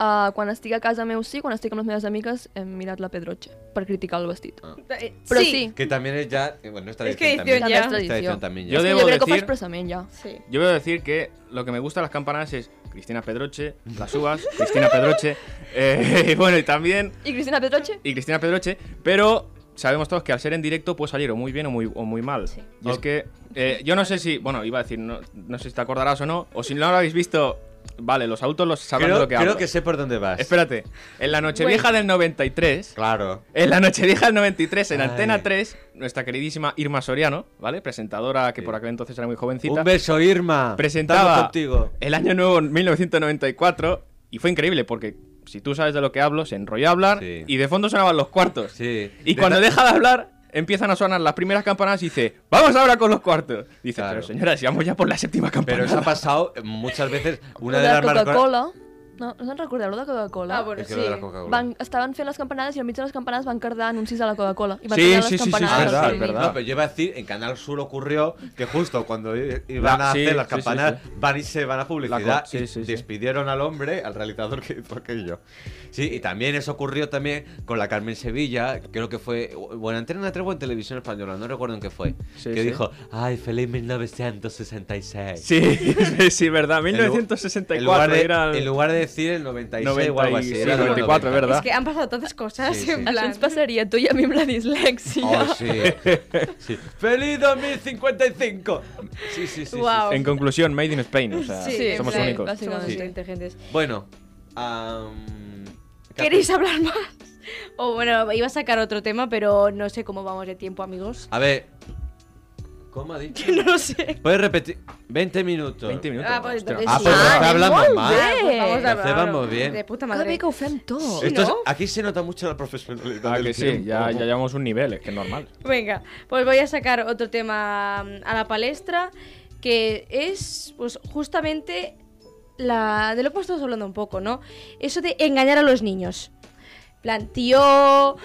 Speaker 3: Uh, quan estic a casa meu sí, quan estic amb les meves amigues hem mirat la Pedroche per criticar el vestit.
Speaker 2: Eh,
Speaker 3: Però
Speaker 2: sí.
Speaker 3: sí,
Speaker 1: Que también es ya. eh, Bueno, esta
Speaker 2: Es
Speaker 1: edición también.
Speaker 2: que edición ya.
Speaker 3: También es
Speaker 1: Esta edición
Speaker 3: tradición.
Speaker 1: también
Speaker 4: Yo
Speaker 1: ya.
Speaker 3: sí
Speaker 4: debo
Speaker 3: jo crec que ho fa
Speaker 4: decir-
Speaker 3: expressament ja.
Speaker 2: Sí.
Speaker 4: Yo voy a decir que lo que me gusta de las campanadas es Cristina Pedroche, las uvas, Cristina Pedroche, eh, y bueno, y también
Speaker 3: I Cristina Pedroche?
Speaker 4: y Cristina Pedroche, pero sabemos todos que al ser en directo puede salir o muy bien o muy, o muy mal.
Speaker 3: Sí.
Speaker 4: Y es que eh, yo no sé si, bueno, iba a decir, no, no sé si te acordarás o no, o si no lo habéis visto, vale, los adultos los sabrán de
Speaker 1: Creo,
Speaker 4: lo que
Speaker 1: creo
Speaker 4: hablo.
Speaker 1: que sé por dónde vas.
Speaker 4: Espérate, en la Nochevieja del 93,
Speaker 1: Claro.
Speaker 4: en la Nochevieja del 93, en
Speaker 1: Ay.
Speaker 4: Antena 3, nuestra queridísima Irma Soriano, ¿vale? Presentadora que por aquel entonces era muy jovencita.
Speaker 1: Un beso, Irma. Estamos
Speaker 4: presentaba
Speaker 1: contigo.
Speaker 4: el año nuevo en 1994 y fue increíble porque si tú sabes de lo que hablo, se enrolló a hablar
Speaker 1: Sí.
Speaker 4: y de fondo sonaban los cuartos.
Speaker 1: Sí.
Speaker 4: Y
Speaker 1: De
Speaker 4: cuando
Speaker 1: ta-
Speaker 4: deja de hablar, empiezan a sonar las primeras campanadas y dice, vamos ahora con los cuartos. Dice,
Speaker 1: Claro.
Speaker 4: pero señora, si vamos ya por la séptima
Speaker 1: Pero
Speaker 4: campanada.
Speaker 1: eso ha pasado muchas veces. Una
Speaker 3: Lo
Speaker 1: de
Speaker 3: la
Speaker 1: las marcas-
Speaker 3: Coca-Cola. No, no se'n recordeu lo de Coca-Cola?
Speaker 2: Ah, bueno,
Speaker 1: Es que
Speaker 2: sí.
Speaker 1: lo de la Coca-Cola.
Speaker 3: Van, estaven fent les campanades i al mig de les campanades van cardar anuncis de la Coca-Cola. I van
Speaker 4: Sí,
Speaker 3: tallar
Speaker 4: sí,
Speaker 3: les
Speaker 4: sí, sí,
Speaker 3: campanades
Speaker 1: Ah,
Speaker 4: sí,
Speaker 3: al
Speaker 4: verdad,
Speaker 3: streaming.
Speaker 4: verdad.
Speaker 1: No, pero yo iba a decir, en Canal Sur ocurrió que justo cuando i- iban
Speaker 4: La-
Speaker 1: a
Speaker 4: sí,
Speaker 1: hacer las
Speaker 4: sí, sí,
Speaker 1: campanas,
Speaker 4: sí.
Speaker 1: van y se van a
Speaker 4: La
Speaker 1: publicidad
Speaker 4: co- sí,
Speaker 1: y
Speaker 4: sí, sí.
Speaker 1: despidieron al hombre, al realizador que hizo aquello. Sí, y también eso ocurrió también con la Carmen Sevilla, creo que fue, bueno, en Antena 3 o en Televisión Española, no recuerdo en qué fue,
Speaker 4: Sí,
Speaker 1: que
Speaker 4: sí.
Speaker 1: dijo, ay, feliz 1966.
Speaker 4: Sí, sí, sí, verdad.
Speaker 1: En lu-
Speaker 4: 1964
Speaker 1: en lugar, de,
Speaker 4: era...
Speaker 1: en lugar de decir el 96 o algo así.
Speaker 4: 96,
Speaker 1: era el
Speaker 4: 94,
Speaker 1: 90.
Speaker 4: ¿verdad?
Speaker 2: Es que han pasado tantas cosas
Speaker 1: Sí, sí.
Speaker 2: en
Speaker 3: Això
Speaker 2: plan.
Speaker 3: ens passaria a tu i a mi amb la dislèxia.
Speaker 1: Oh, sí. sí. ¡Feliz 2055! Sí, sí, sí. sí,
Speaker 2: Guau.
Speaker 4: En conclusión, Made in Spain. O sea,
Speaker 2: Sí,
Speaker 3: Sí,
Speaker 4: somos
Speaker 3: sí,
Speaker 4: únicos.
Speaker 3: básicamente.
Speaker 2: Somos
Speaker 1: Sí.
Speaker 2: inteligentes.
Speaker 1: sí. Bueno. am, ¿qué
Speaker 2: ¿Queréis
Speaker 1: hace-
Speaker 2: hablar más? O bueno, iba a sacar otro tema, pero no sé cómo vamos de tiempo, amigos.
Speaker 1: A ver. ¿Cómo ha dicho?
Speaker 2: no lo sé.
Speaker 1: Puedes repetir. 20 minutos.
Speaker 4: 20 minutos.
Speaker 2: Ah, pues
Speaker 4: hostia.
Speaker 2: entonces
Speaker 1: Ah,
Speaker 2: sí.
Speaker 1: pues
Speaker 3: Ah,
Speaker 1: está hablando
Speaker 3: molt
Speaker 1: mal.
Speaker 2: Ah, pues vamos a
Speaker 1: Lo hacemos bien.
Speaker 2: De puta
Speaker 3: Que
Speaker 2: madre.
Speaker 3: bé que ho fem tot.
Speaker 1: Esto es-
Speaker 2: Ah, ¿no?
Speaker 1: aquí se nota mucho la profesionalidad.
Speaker 4: Ah,
Speaker 1: del
Speaker 4: que sí,
Speaker 1: tiempo.
Speaker 4: ya, ya llevamos un nivel, es que es normal.
Speaker 2: Venga, pues voy a sacar otro tema mm, a la palestra que es pues justamente la de lo que hemos estado hablando un poco, ¿no? Eso de engañar a los niños. En Plan tío,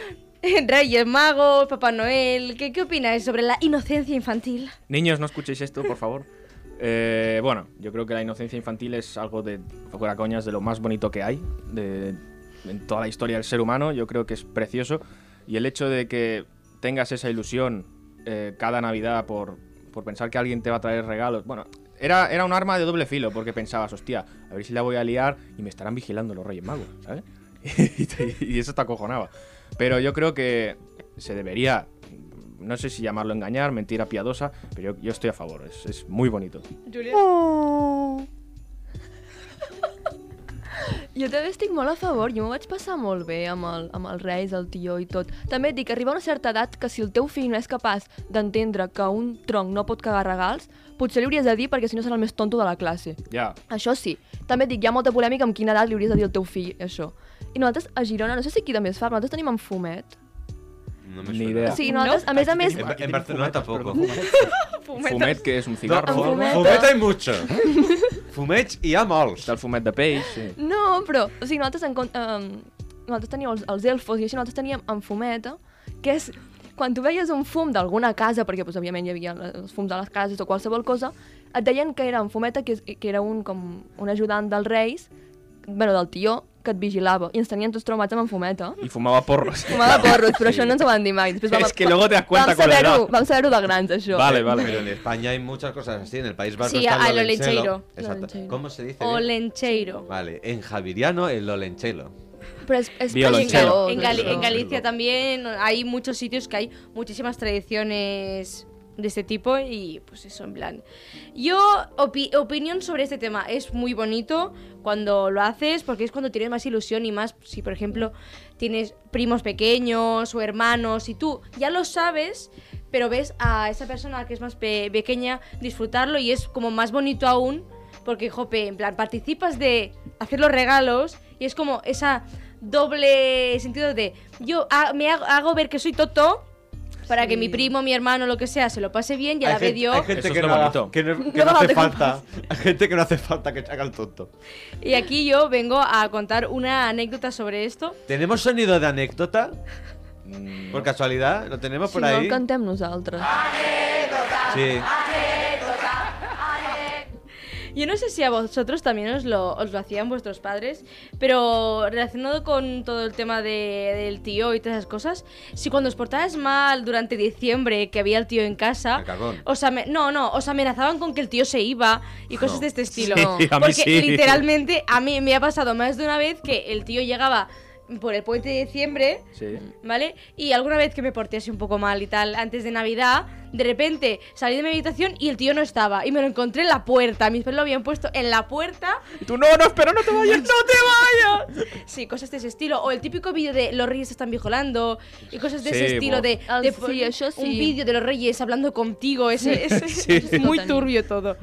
Speaker 2: Reyes Magos, Papá Noel, ¿qué, qué opináis sobre la inocencia infantil?
Speaker 4: Niños, no escuchéis esto, por favor. Eh, bueno, yo creo que la inocencia infantil es algo de, fuera coñas, de lo más bonito que hay de- en toda la historia del ser humano. Yo creo que es precioso. Y el hecho de que tengas esa ilusión eh, cada Navidad por, por pensar que alguien te va a traer regalos. Bueno, era, era un arma de doble filo porque pensabas, hostia, a ver si la voy a liar y me estarán vigilando los Reyes Magos, ¿sabes? y, te- y eso te acojonaba. Pero yo creo que se debería, no sé si llamarlo engañar, mentira piadosa, pero yo, yo estoy a favor, es, es muy bonito.
Speaker 2: Oh.
Speaker 1: Oh.
Speaker 3: Jo també estic molt a favor, jo m'ho vaig passar molt bé amb, el, amb els reis, el tió i tot. També et dic, arriba una certa edat que si el teu fill no és capaç d'entendre que un tronc no pot cagar regals, potser li hauries de dir perquè si no serà el més tonto de la classe.
Speaker 4: Ya.
Speaker 3: Això sí. També et dic, hi ha molta polèmica amb quina edat li hauries de dir al teu fill això. I nosaltres a Girona, no sé si aquí també es fa, però nosaltres tenim en Fumet.
Speaker 1: No me
Speaker 4: Ni
Speaker 1: suena.
Speaker 4: idea.
Speaker 3: Sí, nosaltres, a més a més,
Speaker 1: En, en Barcelona tampoco.
Speaker 4: Fumet, que es un
Speaker 1: No,
Speaker 4: cigarro.
Speaker 3: Amb
Speaker 1: fu-
Speaker 3: fumeta.
Speaker 1: fumet hay mucho. Fumets y a molts.
Speaker 4: Está el fumet de peix. sí.
Speaker 3: No, però, o sigui, nosaltres, en, um, nosaltres teníem els, els elfos i així, nosaltres teníem en fumeta, que és quan tu veies un fum d'alguna casa, perquè, doncs, òbviament, hi havia els fums de les cases o qualsevol cosa, et deien que era en fumeta, que, és- que era un, com, un ajudant dels reis, bueno, del tió, que et vigilava, i ens tenien tots traumats amb en fumeta.
Speaker 4: Y fumaba porros.
Speaker 3: Fumava porros, però això no ens ho van dir mai. Després vam,
Speaker 4: Es que luego te das cuenta
Speaker 3: vam
Speaker 4: con la edad.
Speaker 3: saber-ho vam saber de grans, això.
Speaker 4: Vale,
Speaker 1: Pero en
Speaker 4: vale.
Speaker 1: España hay muchas cosas así. En el País Vasco
Speaker 2: Sí,
Speaker 1: está
Speaker 2: a-
Speaker 1: el
Speaker 2: lo lenchero.
Speaker 1: olenchero.
Speaker 3: Lo
Speaker 1: Exacto.
Speaker 3: lenchero.
Speaker 1: ¿Cómo se dice?
Speaker 2: O
Speaker 1: bien?
Speaker 2: lencheiro.
Speaker 1: Vale, en javiriano el olenchelo.
Speaker 3: Però és, és
Speaker 2: En,
Speaker 4: Violonchelo.
Speaker 3: pescador,
Speaker 2: Gal- en Gali- en
Speaker 3: això.
Speaker 2: Galicia también hay muchos sitios que hay muchísimas tradiciones de este tipo y pues eso, en plan. Yo, opi- opinión sobre este tema, es muy bonito cuando lo haces porque es cuando tienes más ilusión y más, si por ejemplo tienes primos pequeños o hermanos y tú ya lo sabes, pero ves a esa persona que es más pe- pequeña disfrutarlo y es como más bonito aún porque, jope, en plan, participas de hacer los regalos y es como esa doble sentido de yo ha- me hago, hago ver que soy toto para que
Speaker 3: Sí.
Speaker 2: mi primo, mi hermano, lo que sea, se lo pase bien y a
Speaker 1: Hay
Speaker 2: la vez
Speaker 1: gente-
Speaker 2: yo.
Speaker 1: Hay gente
Speaker 4: Eso
Speaker 1: que
Speaker 4: es lo
Speaker 1: no, haga-
Speaker 4: bonito.
Speaker 1: que no- que
Speaker 2: No
Speaker 1: no hace
Speaker 2: hace
Speaker 1: falta. Hay gente que no hace falta que haga el tonto.
Speaker 2: Y aquí yo vengo a contar una anécdota sobre esto.
Speaker 1: ¿Tenemos sonido de anécdota? Por casualidad, ¿lo tenemos
Speaker 3: Si
Speaker 1: por
Speaker 3: no,
Speaker 1: ahí?
Speaker 3: el cantem nosaltres.
Speaker 1: sí.
Speaker 2: Yo no sé si a vosotros también os lo, os lo hacían vuestros padres, pero relacionado con todo el tema de- del tío y todas esas cosas, si cuando os portabas mal durante diciembre que había el tío en casa,
Speaker 1: El cagón.
Speaker 2: os ame- no, no, os amenazaban con que el tío se iba y cosas de este estilo.
Speaker 3: Sí, a mí
Speaker 2: Porque
Speaker 4: sí.
Speaker 2: literalmente a mí me ha pasado más de una vez que el tío llegaba por el puente de diciembre
Speaker 4: Sí.
Speaker 2: ¿Vale? Y alguna vez que me porté así un poco mal y tal, antes de Navidad, de repente salí de mi habitación y el tío no estaba. Y me lo encontré en la puerta. Mis perros lo habían puesto en la puerta.
Speaker 4: Y tú, no, no, espera, no te vayas, no te vayas.
Speaker 2: Sí, cosas de ese estilo. O el típico vídeo de los reyes están vigilando. Y cosas de
Speaker 4: Sí,
Speaker 2: ese estilo
Speaker 4: bo.
Speaker 2: de,
Speaker 3: Al-
Speaker 2: de
Speaker 3: Ah, sí,
Speaker 2: pon-
Speaker 3: eso sí.
Speaker 2: un vídeo de los reyes hablando contigo. Ese, ese- es muy
Speaker 3: Sí.
Speaker 2: turbio todo.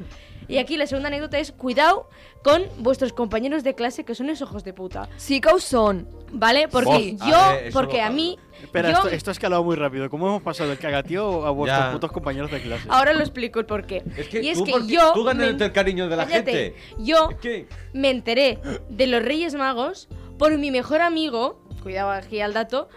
Speaker 2: Y aquí la segunda anécdota es cuidado con vuestros compañeros de clase que son esos ojos de puta.
Speaker 3: Sí que ho són.
Speaker 2: ¿Vale? Porque
Speaker 1: Bof.
Speaker 2: yo,
Speaker 1: A ver, eso
Speaker 2: porque
Speaker 1: lo-
Speaker 2: a mí...
Speaker 6: Espera,
Speaker 2: yo-
Speaker 6: esto, esto ha escalado muy rápido. ¿Cómo hemos pasado del cagatío a vuestros
Speaker 1: Ya.
Speaker 6: putos compañeros de clase?
Speaker 2: Ahora lo explico el porqué.
Speaker 1: Es que
Speaker 2: y es
Speaker 1: tú,
Speaker 2: que
Speaker 1: porque
Speaker 2: yo.
Speaker 1: tú ganas
Speaker 2: me-
Speaker 1: el cariño de la
Speaker 2: Cállate.
Speaker 1: gente.
Speaker 2: Yo
Speaker 1: Es que-
Speaker 2: me enteré de los Reyes Magos por mi mejor amigo. Cuidado aquí al dato.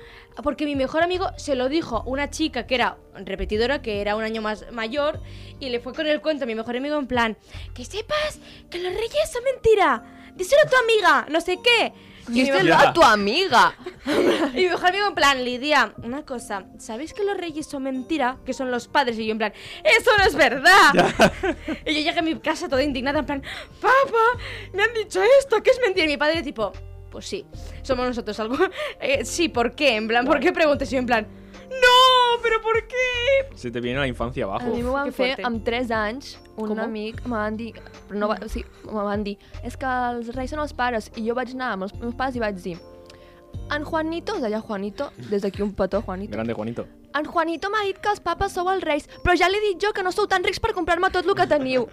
Speaker 2: Porque mi mejor amigo se lo dijo una chica que era repetidora, que era un año más mayor, y le fue con el cuento a mi mejor amigo en plan: Que sepas que los reyes son mentira. Díselo a tu amiga, no sé qué. Y mi
Speaker 3: Díselo a tu amiga.
Speaker 2: y mi mejor amigo en plan, Lidia, una cosa, ¿sabéis que los reyes son mentira? Que son los padres. Y yo en plan, ¡eso no es verdad! y yo llegué a mi casa toda indignada, en plan, ¡Papá! ¡Me han dicho esto! que es mentira? Y mi padre tipo, pues sí, somos nosotros algo. Eh, sí, ¿por qué? En plan, ¿por qué preguntas? Y yo en plan, ¡No! ¿Pero por qué?
Speaker 4: Se te viene la infancia
Speaker 3: A
Speaker 4: abajo.
Speaker 3: mi m'ho
Speaker 2: que
Speaker 3: van fer
Speaker 2: fuerte.
Speaker 3: amb 3 anys, un
Speaker 2: Com?
Speaker 3: amic me van dir, però no va, o sigui, me van dir, és que els reis són els pares, i jo vaig anar amb els meus pares i vaig dir, en Juanito, es deia Juanito, des d'aquí un petó, Juanito,
Speaker 4: Grande Juanito.
Speaker 3: en Juanito m'ha dit que els papes sou els reis, però ja li he dit jo que no sou tan rics per comprar-me tot el que teniu.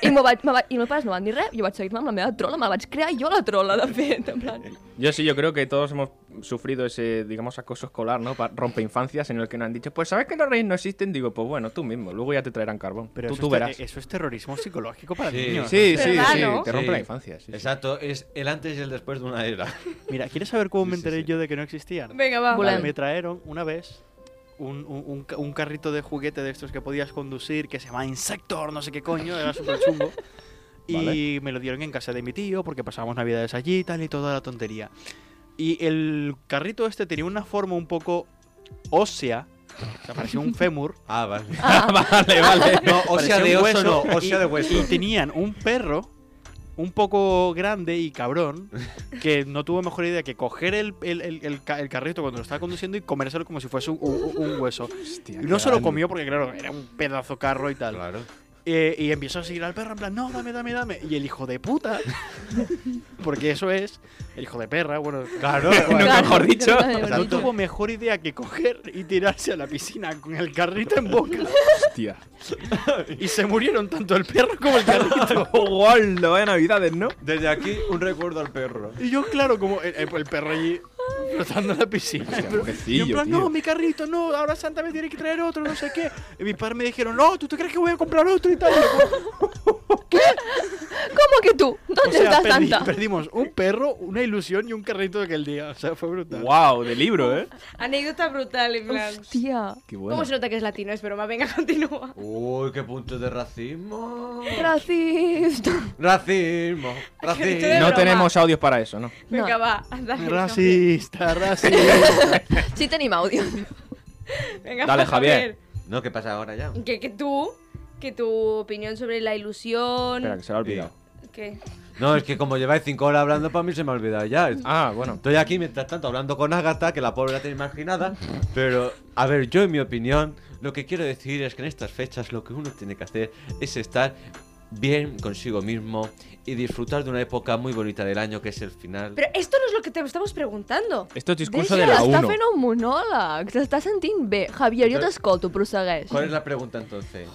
Speaker 3: I, m'ho vaig, me va, I els meus pares no van dir res, jo vaig seguir amb la meva trola, me la vaig crear jo la trola, de fet, en plan...
Speaker 4: Yo sí, yo creo que todos hemos sufrido ese, digamos, acoso escolar, ¿no? Pa- Rompeinfancias en el que nos han dicho, pues sabes que los reyes no existen. Digo, pues bueno, tú mismo, luego ya te traerán carbón. tú,
Speaker 6: Pero eso, e-,
Speaker 4: tú
Speaker 6: es te-
Speaker 4: verás.
Speaker 6: eso es terrorismo psicológico para
Speaker 1: Sí.
Speaker 6: niños.
Speaker 4: Sí, sí,
Speaker 2: ¿Verdad,
Speaker 4: sí,
Speaker 2: no?
Speaker 4: te rompe la
Speaker 1: Sí.
Speaker 4: infancia. sí, sí.
Speaker 1: Exacto, es el antes y el después de una era.
Speaker 6: Mira, ¿quieres saber cómo me enteré yo de que no existían?
Speaker 2: Venga, va.
Speaker 3: Volem.
Speaker 6: Me trajeron una vez un, un- un ca- un carrito de juguete de estos que podías conducir que se llama Insector, no sé qué coño, era súper chungo. Y
Speaker 4: Vale.
Speaker 6: me lo dieron en casa de mi tío porque pasábamos navidades allí y tal y toda la tontería. Y el carrito este tenía una forma un poco ósea, o sea, parecía un fémur.
Speaker 1: Ah, vale.
Speaker 4: vale, vale.
Speaker 1: No, o sea
Speaker 6: Parecía
Speaker 1: de
Speaker 6: un
Speaker 1: oso no, o
Speaker 6: y-
Speaker 1: sea de hueso.
Speaker 6: Y tenían un perro un poco grande y cabrón que no tuvo mejor idea que coger el, el- el- el ca- el carrito cuando lo estaba conduciendo y comérselo como si fuese un, un- un hueso.
Speaker 4: Hostia,
Speaker 6: Y no se lo
Speaker 4: grande.
Speaker 6: comió porque, claro, era un pedazo carro y tal.
Speaker 1: Claro.
Speaker 6: Eh, y empezó a seguir al perro en plan, no, dame, dame, dame. Y el hijo de puta, porque eso es, el hijo de perra, bueno.
Speaker 1: Claro.
Speaker 4: Nunca mejor dicho.
Speaker 1: O sea,
Speaker 6: No
Speaker 1: tú-
Speaker 6: tuvo mejor idea que coger y tirarse a la piscina con el carrito en boca.
Speaker 4: Hostia.
Speaker 6: Y se murieron tanto el perro como el carrito.
Speaker 4: Igual, lo vaya navidades, ¿no?
Speaker 1: Desde aquí, un recuerdo al perro.
Speaker 6: Y yo, claro, como el, el- el perro allí flotando en la piscina.
Speaker 4: Hostia,
Speaker 6: Pero- y
Speaker 4: pobrecillo,
Speaker 6: en plan,
Speaker 4: tío.
Speaker 6: no, mi carrito, no, ahora Santa me tiene que traer otro, no sé qué. Y mis padres me dijeron, no, ¿tú te crees que voy a comprar otro y tal? Y yo,
Speaker 3: ¿Cómo que tú?
Speaker 6: o
Speaker 3: ¿Dónde
Speaker 6: sea,
Speaker 3: está
Speaker 6: perdi-
Speaker 3: Santa?
Speaker 6: perdimos un perro, una ilusión y un carrito de aquel día. O sea, fue brutal.
Speaker 4: Wow, de libro, ¿eh?
Speaker 2: Anécdota brutal, en plan.
Speaker 3: Hostia.
Speaker 4: Qué bueno.
Speaker 2: ¿Cómo se nota que es latino? Es broma, venga, continúa.
Speaker 1: Uy, qué punto de racismo.
Speaker 3: Racista.
Speaker 1: Racismo.
Speaker 2: dicho
Speaker 1: Racismo.
Speaker 2: de-
Speaker 4: No
Speaker 2: broma.
Speaker 4: tenemos audios para eso, ¿no?
Speaker 2: Venga,
Speaker 3: No.
Speaker 2: va. dale,
Speaker 6: Racista, racista.
Speaker 3: Sí tenim àudio.
Speaker 2: Venga,
Speaker 4: Dale,
Speaker 2: va,
Speaker 4: Javier.
Speaker 1: No, ¿qué pasa ahora ya?
Speaker 2: Que, que tú, que tu opinión sobre la ilusión.
Speaker 4: Espera, que se lo ha olvidado.
Speaker 2: que-
Speaker 1: No, es que como lleváis cinco horas hablando, para mí se me ha olvidado ya.
Speaker 4: Ah, bueno.
Speaker 1: Estoy aquí mientras tanto hablando con Agatha, que la pobre la tiene imaginada. Pero, a ver, yo en mi opinión, lo que quiero decir es que en estas fechas lo que uno tiene que hacer es estar bien consigo mismo y disfrutar de una época muy bonita del año que es el final.
Speaker 2: Però esto no és lo que te estamos preguntando.
Speaker 4: Esto es discurso de
Speaker 3: Deixa'l, està
Speaker 4: la 1.
Speaker 3: fent un monòleg. S'està sentint bé. Javier, jo t'escolto, prossegueix.
Speaker 1: ¿Cuál es la pregunta entonces?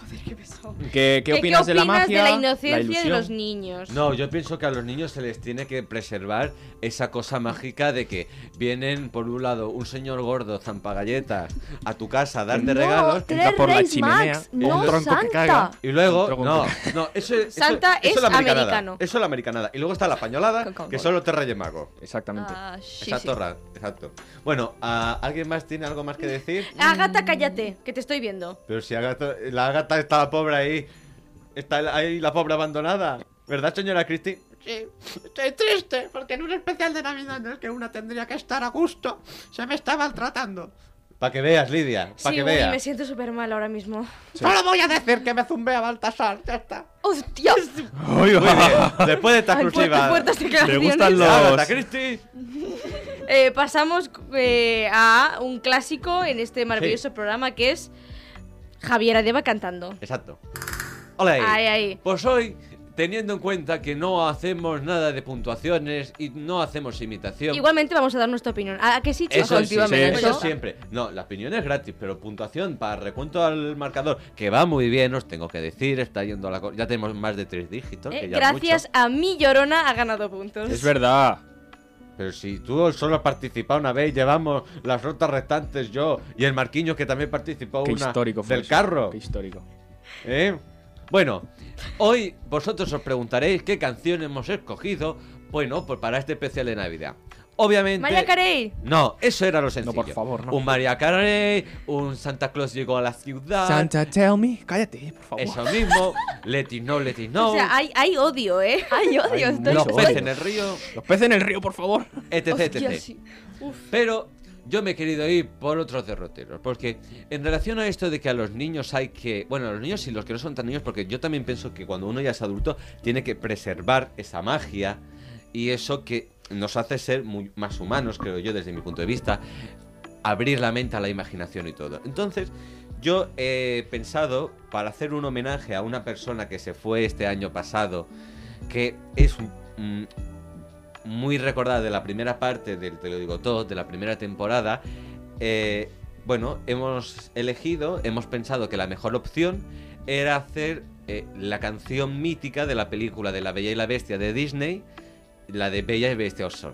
Speaker 4: ¿Qué, qué opinas de la magia?
Speaker 2: de la inocencia de
Speaker 4: ilusión?
Speaker 2: los niños?
Speaker 1: No, yo pienso que a los niños se les tiene que preservar esa cosa mágica de que vienen, por un lado, un señor gordo, zampagalletas, a tu casa a darte regalos.
Speaker 3: tres
Speaker 4: por la
Speaker 3: Reis
Speaker 4: chimenea.
Speaker 3: Mags,
Speaker 1: Un
Speaker 3: no
Speaker 6: tronco que caga.
Speaker 3: Santa.
Speaker 1: Y luego,
Speaker 4: Otro
Speaker 1: no,
Speaker 4: contra-
Speaker 1: no, eso, eso-
Speaker 2: Santa
Speaker 1: eso
Speaker 2: es
Speaker 1: la americanada,
Speaker 2: americano.
Speaker 1: Eso es la americanada. Y luego está la
Speaker 3: Con
Speaker 1: pañolada,
Speaker 3: cowboy.
Speaker 1: que son los tres reyes magos.
Speaker 4: Exactamente.
Speaker 3: Ah, sí, sí.
Speaker 1: exacto, ra- exacto. Bueno, ¿a- ¿alguien más tiene algo más que decir?
Speaker 2: Agata, cállate, que te estoy viendo.
Speaker 1: Pero si Agatha- la Agatha está la pobre ahí. Está la- ahí la pobre abandonada. ¿Verdad, señora Christie?
Speaker 7: Sí, estoy triste porque en un especial de Navidad no es que una tendría que estar a gusto. Se me está maltratando.
Speaker 1: Para que veas, Lidia. Para
Speaker 2: sí,
Speaker 1: que
Speaker 2: uy,
Speaker 1: veas.
Speaker 2: me siento súper mal ahora mismo.
Speaker 7: Solo voy a decir que me zumbé a Baltasar, ya está.
Speaker 3: Hòstia!
Speaker 1: Muy bien. Después de esta
Speaker 2: Ay, fuertes,
Speaker 1: exclusiva.
Speaker 2: fuertes declaraciones.
Speaker 6: gustan los-
Speaker 1: Agatha Christie.
Speaker 2: Eh, pasamos eh, a un clásico en este maravilloso programa que es Javier Adeba cantando.
Speaker 1: Exacto. Hola. ahí.
Speaker 2: Ahí, ahí.
Speaker 1: Pues hoy, teniendo en cuenta que no hacemos nada de puntuaciones y no hacemos imitación.
Speaker 2: Igualmente vamos a dar nuestra opinión. ¿A que sí, chicos?
Speaker 1: Eso, sí,
Speaker 3: Efectivamente.
Speaker 1: eso
Speaker 3: Pues ya
Speaker 1: siempre. No, la opinión es gratis, pero puntuación para recuento al marcador, que va muy bien, os tengo que decir, está yendo a la... co- Ya tenemos más de tres dígitos.
Speaker 2: Eh,
Speaker 1: que ya es
Speaker 2: gracias
Speaker 1: mucho.
Speaker 2: a mi llorona ha ganado puntos.
Speaker 4: Es verdad.
Speaker 1: Pero si tú solo has participado una vez, llevamos las rotas restantes yo y el Marquiño que también participó
Speaker 4: Qué
Speaker 1: una
Speaker 4: histórico fue
Speaker 1: del
Speaker 4: eso.
Speaker 1: carro.
Speaker 4: Qué histórico.
Speaker 1: ¿eh? Bueno, hoy vosotros os preguntaréis qué canción hemos escogido, bueno, pues para este especial de Navidad. Obviamente...
Speaker 2: María Carey.
Speaker 1: No, eso era lo sencillo.
Speaker 4: por favor, no.
Speaker 1: Un María Carey, un Santa Claus llegó a la ciudad.
Speaker 2: Ah.
Speaker 4: tell me. Cállate, por favor.
Speaker 1: Eso mismo. Let it know, let it know.
Speaker 2: O sea, hay, hay odio, ¿eh?
Speaker 3: Ai,
Speaker 4: Ai,
Speaker 3: odio, estoy...
Speaker 1: Los
Speaker 4: Mucho
Speaker 1: peces
Speaker 4: odio.
Speaker 1: en el río,
Speaker 4: Los peces en el río, por favor.
Speaker 1: etc,
Speaker 3: Hòstia,
Speaker 1: etc.
Speaker 3: sí.
Speaker 1: Pero yo me he querido ir por otros derroteros, porque en relación a esto de que a los niños hay que, bueno, a los niños y los que no son tan niños, porque yo también pienso que cuando uno ya es adulto tiene que preservar esa magia y eso que nos hace ser muy más humanos, creo yo, desde mi punto de vista, abrir la mente a la imaginación y todo. Entonces, yo he pensado para hacer un homenaje a una persona que se fue este año pasado, que es mm, muy recordada de la primera parte del Te lo digo todo, de la primera temporada, eh, bueno, hemos elegido, hemos pensado que la mejor opción era hacer eh, la canción mítica de la película de La Bella y la Bestia de Disney, la de Bella y Bestia Orson.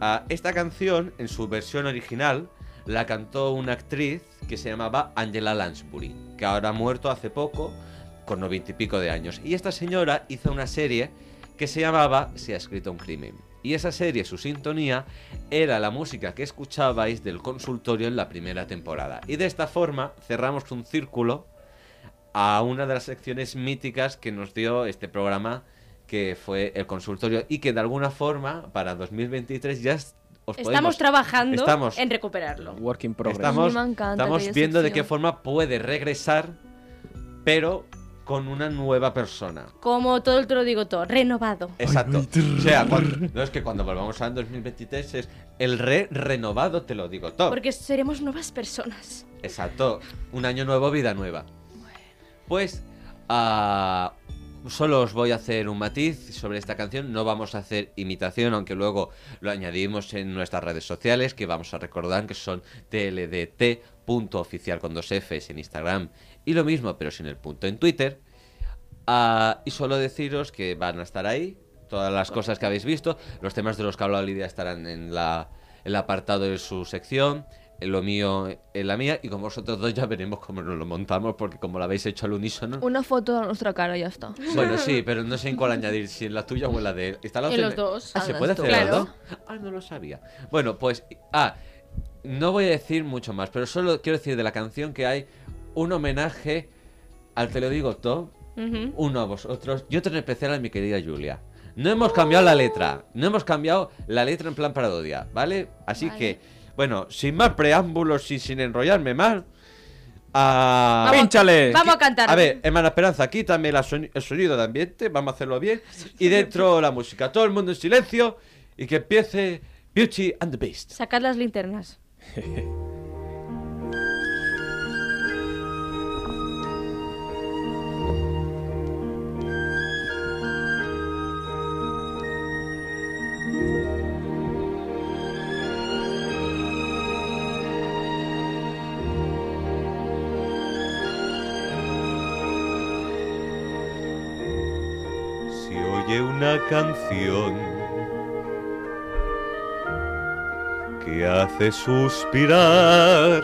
Speaker 1: Ah, esta canción, en su versión original, la cantó una actriz que se llamaba Angela Lansbury, que ahora ha muerto hace poco, con noventa y pico de años. Y esta señora hizo una serie que se llamaba Se ha escrito un crimen. Y esa serie, su sintonía, era la música que escuchabais del consultorio en la primera temporada. Y de esta forma cerramos un círculo a una de las secciones míticas que nos dio este programa, que fue el consultorio, y que de alguna forma para 2023 ya es- os
Speaker 2: Estamos
Speaker 1: podemos-
Speaker 2: trabajando
Speaker 1: Estamos-
Speaker 2: en recuperarlo.
Speaker 4: Work in progress.
Speaker 1: Estamos,
Speaker 3: A mí me encanta
Speaker 1: estamos
Speaker 3: aquella
Speaker 1: viendo de qué
Speaker 3: sección.
Speaker 1: forma puede regresar, pero con una nueva persona.
Speaker 2: Como todo el te lo digo todo, renovado.
Speaker 1: Exacto. o sea, cuando- no es que cuando volvamos al 2023 es el re renovado, te lo digo todo.
Speaker 2: Porque seremos nuevas personas.
Speaker 1: Exacto. Un año nuevo, vida nueva. Pues, ah, solo os voy a hacer un matiz sobre esta canción. No vamos a hacer imitación, aunque luego lo añadimos en nuestras redes sociales, que vamos a recordar que son tldt.oficial con dos Fs en Instagram y lo mismo, pero sin el punto en Twitter. Ah, y solo deciros que van a estar ahí todas las cosas que habéis visto. Los temas de los que ha hablado Lidia estarán en la, el apartado de su sección. en Lo mío en la mía. Y con vosotros dos ya veremos cómo nos lo montamos. Porque como lo habéis hecho al unísono.
Speaker 3: Una foto de la nostra cara, ja està.
Speaker 1: Bueno, sí, pero no sé en cuál añadir, si en la tuya o en la de él. Está la
Speaker 2: En
Speaker 1: opción
Speaker 2: los
Speaker 1: de-
Speaker 2: dos.
Speaker 1: Ah,
Speaker 3: En
Speaker 1: ¿se
Speaker 3: las
Speaker 1: puede hacer
Speaker 3: dos.
Speaker 1: las
Speaker 3: Claro.
Speaker 1: dos? Ah, no lo sabía. Bueno, pues. Ah, no voy a decir mucho más, pero solo quiero decir de la canción que hay un homenaje al Te lo digo todo,
Speaker 2: Ujú.
Speaker 1: uno a vosotros y otro en especial a mi querida Julia. No hemos cambiado la letra, no hemos cambiado la letra en plan parodia, ¿vale? Así
Speaker 3: Vale.
Speaker 1: que, bueno, sin más preámbulos y sin enrollarme más. ah, A...
Speaker 2: Vamos-
Speaker 4: Pínchale.
Speaker 2: Ah, Vamos a cantar.
Speaker 1: A ver, hermana Esperanza, quítame la soni- el sonido de ambiente, vamos a hacerlo bien. Y dentro la música, todo el mundo en silencio y que empiece Beauty and the Beast.
Speaker 2: Sacad las linternas.
Speaker 1: oye una canción que hace suspirar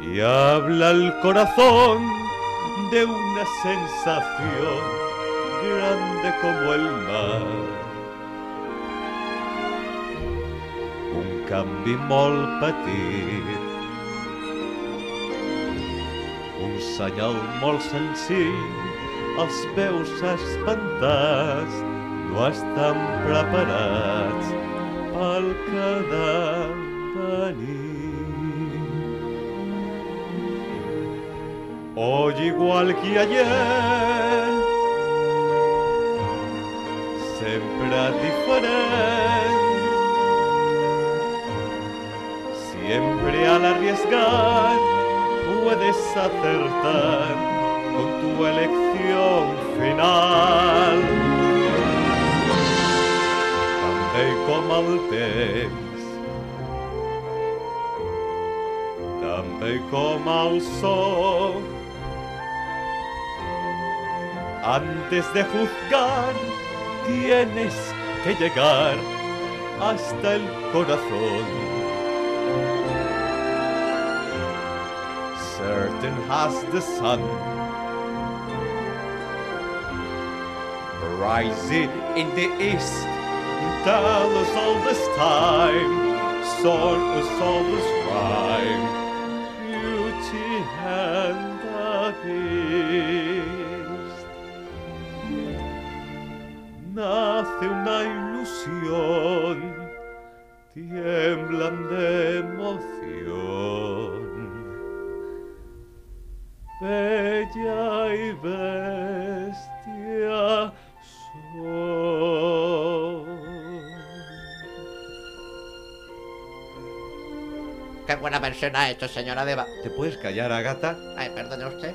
Speaker 1: y habla el corazón de una sensación grande como el mar. un canvi molt petit. Un senyal molt senzill els peus espantats no estan preparats pel que ha de venir. Hoy igual que ayer, sempre diferent, Siempre al arriesgar puedes acertar con tu elección final. Tan bé com el temps, tan bé com el sol, antes de juzgar tienes que llegar hasta el corazón. certain as the sun. Rising in the east, tell us all this time, sort us all this rhyme, beauty and the beast. Nace una ilusión, tiemblan de emoción. bella y bestia soy.
Speaker 7: Qué buena versión ha hecho, señora Deva.
Speaker 1: ¿Te puedes callar, Agata?
Speaker 7: Ay, perdone usted.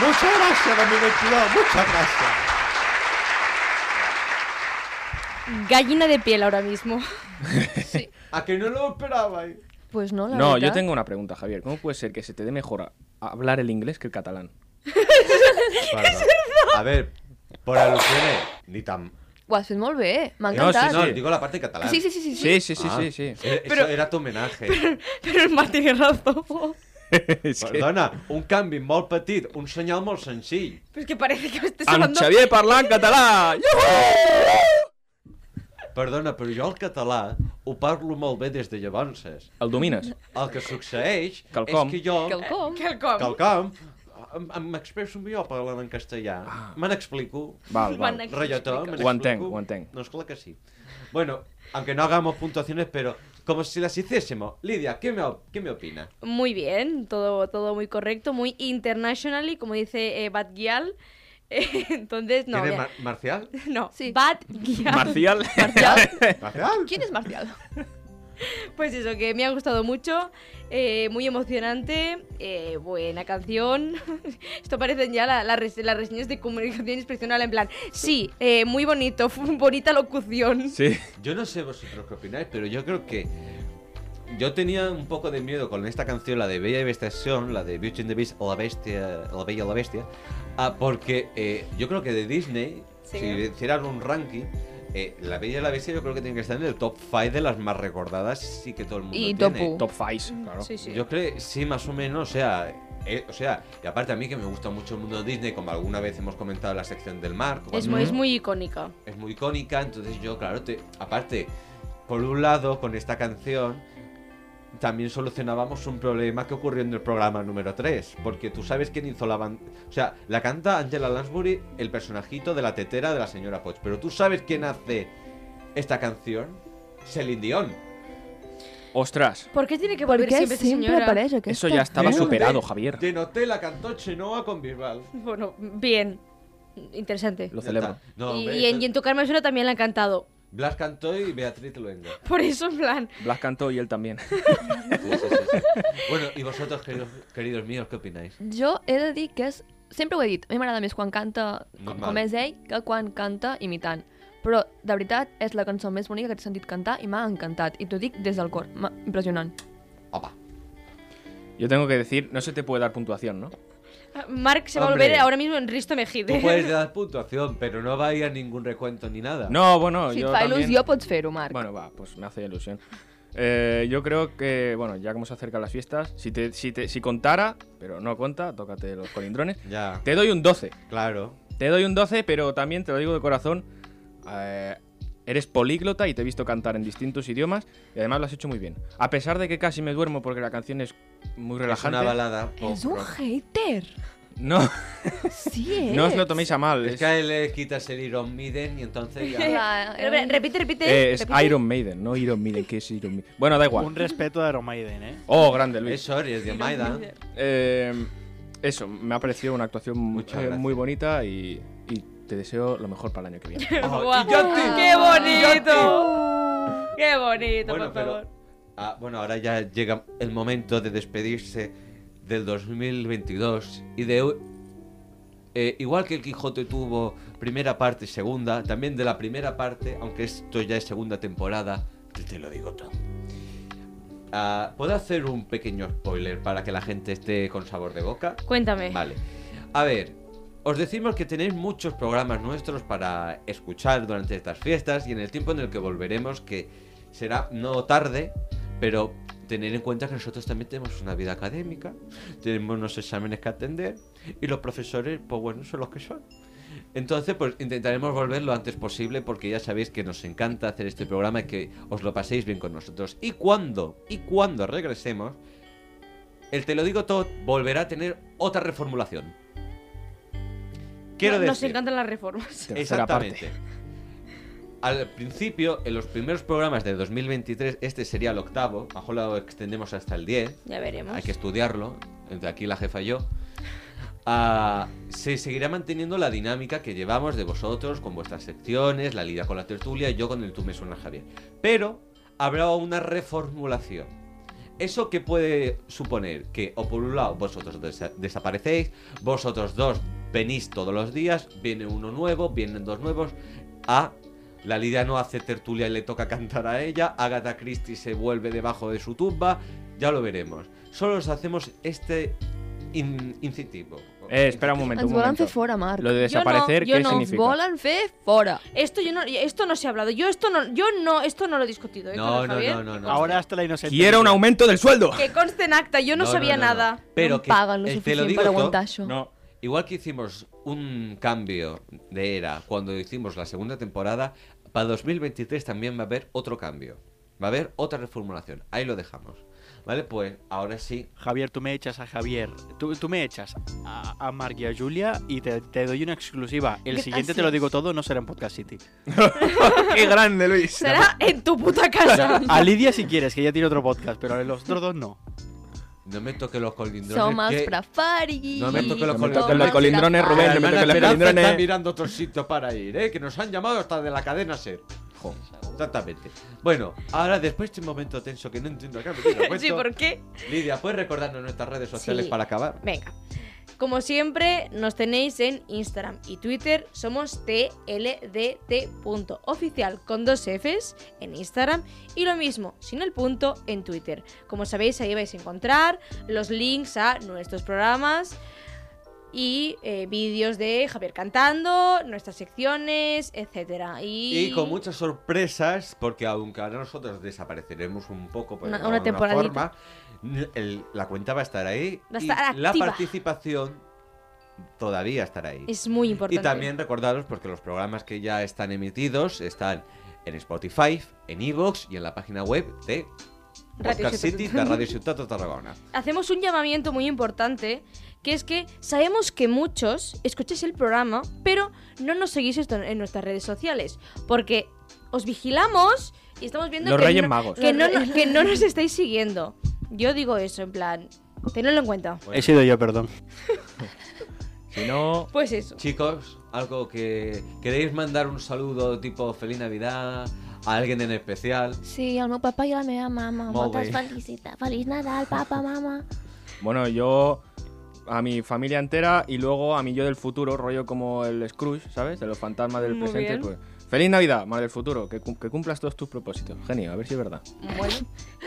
Speaker 7: Muchas gracias, don Miguel Quiró, muchas gracias.
Speaker 2: Gallina de piel ahora mismo.
Speaker 1: A que no lo esperaba.
Speaker 3: Pues no, la
Speaker 4: No,
Speaker 3: verdad.
Speaker 4: yo tengo una pregunta, Javier. ¿Cómo puede ser que se te dé mejor a- a hablar el inglés que el catalán?
Speaker 1: A ver, por alusiones, ni tan.
Speaker 3: Ho has fet molt bé, eh? m'ha
Speaker 1: No, sí,
Speaker 3: encantat.
Speaker 1: no,
Speaker 4: sí.
Speaker 1: digo la parte catalana.
Speaker 3: sí, sí, sí, sí, sí.
Speaker 4: Sí, sí, sí,
Speaker 1: Ah,
Speaker 4: sí, sí.
Speaker 1: eh, Eso era tu homenaje.
Speaker 2: Pero el Martín tiene razón. po.
Speaker 4: Es que-
Speaker 1: Perdona, un canvi molt petit, un senyal molt senzill.
Speaker 2: Pero es que parece que me estés
Speaker 4: En
Speaker 2: hablando.
Speaker 4: Xavier parlant català!
Speaker 1: Perdona, però jo el català ho parlo molt bé des de llavors.
Speaker 4: El domines?
Speaker 1: El que succeeix
Speaker 4: Quelcom.
Speaker 1: és que jo,
Speaker 3: Quelcom.
Speaker 2: Quelcom.
Speaker 1: quelcom, em- em- m'expresso millor parlant en castellà. Me n'explico.
Speaker 4: Val,
Speaker 2: Van
Speaker 4: val.
Speaker 2: a-
Speaker 1: Rayatón,
Speaker 2: Ho
Speaker 1: me lo
Speaker 4: entenc,
Speaker 1: explico.
Speaker 4: Ah. ho entenc.
Speaker 1: No es claro que sí. Bueno, aunque no hagamos puntuaciones, pero como si las hiciésemos. Lidia, ¿qué me, op- qué me opina?
Speaker 2: Muy bien, todo, todo muy correcto, muy internationally, como dice eh, Bad Gyal. Eh, entonces, no.
Speaker 1: ¿Tiene
Speaker 2: bien.
Speaker 1: Mar- Marcial?
Speaker 2: No,
Speaker 3: Sí.
Speaker 2: Bad Gyal.
Speaker 4: Marcial.
Speaker 1: ¿Marcial?
Speaker 3: ¿Quién es Marcial?
Speaker 2: Pues eso, que me ha gustado mucho, eh, muy emocionante, eh, buena canción. Esto parecen ya la- la res- las reseñas de comunicación inspeccional en plan, sí, eh, muy bonito, fu- bonita locución.
Speaker 4: Sí.
Speaker 1: Yo no sé vosotros qué opináis, pero yo creo que. Yo tenía un poco de miedo con esta canción, la de Bella y Bestiación, la de Beauty and the Beast, la bestia, la bella y la bestia, ah, porque eh, yo creo que de Disney,
Speaker 2: Sí.
Speaker 1: si hicieran un ranking, eh, la Bella y la Bestia yo creo que tiene que estar en el top 5 de las más recordadas y que todo el mundo
Speaker 3: Y
Speaker 1: tiene.
Speaker 3: Topu.
Speaker 4: Top 5, claro.
Speaker 2: Sí, sí.
Speaker 1: Yo creo, sí, más o menos, o sea, eh, o sea, y aparte a mí que me gusta mucho el mundo de Disney, como alguna vez hemos comentado en la sección del mar,
Speaker 2: Es,
Speaker 1: cuando
Speaker 2: muy- es muy icónica.
Speaker 1: es muy icónica, entonces yo, claro, te, aparte, por un lado, con esta canción, también solucionábamos un problema que ocurrió en el programa número 3, porque tú sabes quién hizo la banda, o sea, la canta Angela Lansbury, el personajito de la tetera de la señora Potts, pero tú sabes quién hace esta canción, Celine Dion.
Speaker 4: Ostras.
Speaker 2: ¿Por qué tiene que
Speaker 3: Per
Speaker 2: volver
Speaker 3: què
Speaker 2: siempre esta
Speaker 3: sempre
Speaker 2: señora?
Speaker 3: apareix aquesta?
Speaker 4: Eso ya estaba
Speaker 1: Denote-
Speaker 4: superado, Javier.
Speaker 1: Denoté la cantó Chenoa con Bisbal.
Speaker 2: Bueno, bien, interesante.
Speaker 4: Lo
Speaker 1: Ya
Speaker 4: celebro.
Speaker 1: está. No,
Speaker 2: y,
Speaker 1: hombre,
Speaker 2: y en, y en Tocarme Suena también la han cantado.
Speaker 1: Blas cantó y Beatriz Luengo.
Speaker 2: Por eso, en plan,
Speaker 4: Blas cantó y él también.
Speaker 1: Sí, sí, sí, sí. Bueno, y vosotros, queridos, queridos míos, ¿qué opináis?
Speaker 3: Jo he de dir que és... Sempre ho he dit, a mi m'agrada més quan canta com,
Speaker 4: Mm,
Speaker 1: Normal.
Speaker 3: com és ell que quan canta imitant. Però, de veritat, és la cançó més bonica que he sentit cantar i m'ha encantat. I t'ho dic des del cor. M'ha- Impressionant.
Speaker 1: Opa.
Speaker 4: Yo tengo que decir, no se te puede dar puntuación, ¿no?
Speaker 2: Mark se va a
Speaker 1: Hombre.
Speaker 2: volver ahora mismo en Risto
Speaker 1: Tú
Speaker 2: Mejide.
Speaker 1: puedes dar puntuación, pero no va a ir a ningún recuento ni nada.
Speaker 4: No, bueno,
Speaker 3: Si
Speaker 4: yo
Speaker 3: et fa
Speaker 4: también-
Speaker 3: il·lusió, pots fer-ho, Marc.
Speaker 4: Bueno, va, pues me hace ilusión. Eh, yo creo que, bueno, ya como se acercan las fiestas, si, te, si, te- si contara, pero no cuenta, tócate los colindrones,
Speaker 1: Ya,
Speaker 4: te doy un 12.
Speaker 1: claro.
Speaker 4: Te doy un 12, pero también te lo digo de corazón, eh, eres políglota y te he visto cantar en distintos idiomas y además lo has hecho muy bien. A pesar de que casi me duermo porque la canción es muy
Speaker 1: Es
Speaker 4: relajante.
Speaker 1: una balada.
Speaker 3: És un hater.
Speaker 4: No,
Speaker 3: Sí, és.
Speaker 4: no os lo toméis a mal.
Speaker 1: Es
Speaker 4: Es,
Speaker 1: que a él le quitas el Iron Maiden y entonces ya...
Speaker 3: Clar,
Speaker 2: Pero, espera, repite, repite.
Speaker 4: eh, es
Speaker 2: repite.
Speaker 4: Iron Maiden, no Iron Maiden, ¿qué es Iron Maiden? Bueno, da
Speaker 6: Un
Speaker 4: igual.
Speaker 6: respeto a Iron Maiden, ¿eh?
Speaker 4: Oh, grande Luis.
Speaker 1: Es sorry, es de Maida.
Speaker 4: Eh, eso, me ha parecido una actuación
Speaker 1: Muchas
Speaker 4: eh,
Speaker 1: gracias.
Speaker 4: muy bonita y, y te deseo lo mejor para el año que viene.
Speaker 1: Oh,
Speaker 2: Guau.
Speaker 1: Gigante.
Speaker 2: ¡Qué bonito! ¡Qué
Speaker 1: Uh.
Speaker 2: bonito,
Speaker 1: Bueno,
Speaker 2: por favor!
Speaker 1: pero... ah, bueno, ahora ya llega el momento de despedirse del 2022 y de... eh, igual que el Quijote tuvo primera parte y segunda, también de la primera parte, aunque esto ya es segunda temporada, te, te lo digo todo. Ah, ¿Puedo hacer un pequeño spoiler para que la gente esté con sabor de boca?
Speaker 2: Cuéntame.
Speaker 1: Vale. A ver, os decimos que tenéis muchos programas nuestros para escuchar durante estas fiestas y en el tiempo en el que volveremos, que será no tarde, pero tener en cuenta que nosotros también tenemos una vida académica, tenemos unos exámenes que atender y los profesores, pues bueno, son los que son. Entonces, pues intentaremos volver lo antes posible porque ya sabéis que nos encanta hacer este programa y que os lo paséis bien con nosotros. Y cuando, y cuando regresemos, el Te lo digo todo volverá a tener otra reformulación. Quiero
Speaker 2: No- Nos
Speaker 1: decir,
Speaker 2: encantan las reformas.
Speaker 4: Tercera parte.
Speaker 1: exactamente. Al principio, en los primeros programas de 2023, este sería el octavo, mejor lo extendemos hasta el 10.
Speaker 2: Ya veremos.
Speaker 1: Hay que estudiarlo. Entre aquí la jefa y yo. Ah, se seguirá manteniendo la dinámica que llevamos de vosotros con vuestras secciones, la lida con la tertulia y yo con el tú me suena Javier. Pero habrá una reformulación. ¿Eso que puede suponer? Que o por un lado vosotros desa- desaparecéis, vosotros dos venís todos los días, viene uno nuevo, vienen dos nuevos, a la Lidia no hace tertulia y le toca cantar a ella. Agatha Christie se vuelve debajo de su tumba. Ya lo veremos. Solo os hacemos este in- incentivo.
Speaker 4: Eh, espera un momento,
Speaker 3: Ens
Speaker 4: un
Speaker 3: volen
Speaker 4: momento.
Speaker 3: fer fora, Marc.
Speaker 4: Lo de
Speaker 2: Yo no,
Speaker 4: desaparecer,
Speaker 2: yo
Speaker 4: ¿qué
Speaker 2: no.
Speaker 3: Ens
Speaker 4: significa?
Speaker 3: volen fer fora.
Speaker 2: Esto yo no, esto no se ha hablado. Yo esto no, yo no, esto no lo he discutido. ¿eh,
Speaker 1: No,
Speaker 2: con
Speaker 1: no,
Speaker 2: Javier?
Speaker 1: no, no, no.
Speaker 6: Ahora hasta la inocente.
Speaker 4: Quiero un aumento del sueldo.
Speaker 2: Que conste en acta. Yo no,
Speaker 1: No,
Speaker 2: sabía
Speaker 1: no, no, no.
Speaker 2: nada.
Speaker 1: Pero
Speaker 3: no em
Speaker 1: que
Speaker 3: paguen lo
Speaker 1: el te lo
Speaker 3: suficient
Speaker 1: digo
Speaker 3: per
Speaker 1: tot,
Speaker 3: aguantar això.
Speaker 4: No,
Speaker 1: Igual que hicimos un cambio de era cuando hicimos la segunda temporada, para 2023 también va a haber otro cambio. Va a haber otra reformulación. Ahí lo dejamos. Vale, pues ahora sí.
Speaker 6: Javier, tú me echas a Javier. Tú, tú me echas a, a Marc y a Julia y te, te doy una exclusiva. El
Speaker 2: Gracias.
Speaker 6: siguiente te lo digo todo, no será en Podcast City.
Speaker 4: qué grande Luis.
Speaker 2: Será en tu puta casa.
Speaker 6: A Lidia si quieres, que ella tiene otro podcast, pero a los otros dos no.
Speaker 1: No me toque los colindrones.
Speaker 3: Som els
Speaker 1: que-
Speaker 3: preferis.
Speaker 1: No me toquen los colindrones.
Speaker 3: som
Speaker 1: No me toquen
Speaker 3: els
Speaker 1: los
Speaker 4: colindrones,
Speaker 1: La
Speaker 4: eh, Rubén, no me
Speaker 1: hermana
Speaker 4: toques la
Speaker 1: Esperanza
Speaker 4: pelindrone.
Speaker 1: está mirando otro sitio para ir, ¿eh? Que nos han llamado hasta de la cadena SER.
Speaker 4: Jo.
Speaker 1: Exactamente. Bueno, ahora después de este momento tenso que no entiendo acá, me tiene cuento.
Speaker 2: sí, ¿por qué?
Speaker 1: Lidia, ¿puedes recordarnos nuestras redes sociales
Speaker 2: Sí.
Speaker 1: para acabar?
Speaker 2: Venga. Como siempre, nos tenéis en Instagram y Twitter. Somos tldt.oficial con dos Fs en Instagram y lo mismo, sin el punto, en Twitter. Como sabéis, ahí vais a encontrar los links a nuestros programas y eh, vídeos de Javier cantando, nuestras secciones, etc. Y,
Speaker 1: Y con muchas sorpresas, porque aunque ahora nosotros desapareceremos un poco por
Speaker 2: Una-
Speaker 1: alguna
Speaker 2: una
Speaker 1: forma,
Speaker 2: temporadita.
Speaker 1: el- la cuenta va a estar ahí
Speaker 2: Va a
Speaker 1: y
Speaker 2: estar
Speaker 1: la
Speaker 2: activa.
Speaker 1: participación todavía estará ahí.
Speaker 2: Es muy importante.
Speaker 1: Y también recordaros, porque los programas que ya están emitidos están en Spotify, en Evox y en la página web de
Speaker 2: Radio
Speaker 1: Podcast
Speaker 2: Ciutat.
Speaker 1: City de Radio Ciutat de Tarragona.
Speaker 2: hacemos un llamamiento muy importante, que es que sabemos que muchos escucháis el programa, pero no nos seguís esto en nuestras redes sociales, porque os vigilamos y estamos viendo
Speaker 4: Los
Speaker 2: que,
Speaker 4: Reyes
Speaker 2: no,
Speaker 4: Magos.
Speaker 2: que, no, que no nos estáis siguiendo. Yo digo eso, en plan, tenedlo en cuenta.
Speaker 1: Bueno.
Speaker 6: He sido yo, perdón.
Speaker 4: Si no,
Speaker 2: Pues eso.
Speaker 1: Chicos, algo que. ¿Queréis mandar un saludo tipo Feliz Navidad? ¿A alguien en especial?
Speaker 8: Sí, el meu papa i la meva mama.
Speaker 1: Molt
Speaker 8: Moltes
Speaker 1: bé.
Speaker 8: felicitats. Feliç Nadal, papa, mama.
Speaker 4: bueno, yo a mi familia entera y luego a mi yo del futuro, rollo como el Scrooge, ¿sabes? De los fantasmas del
Speaker 2: Muy
Speaker 4: presente.
Speaker 2: bien.
Speaker 4: pues, Feliz Navidad, madre del futuro, que, cum- que cumplas todos tus propósitos. Genio, a ver si es verdad.
Speaker 2: Bueno,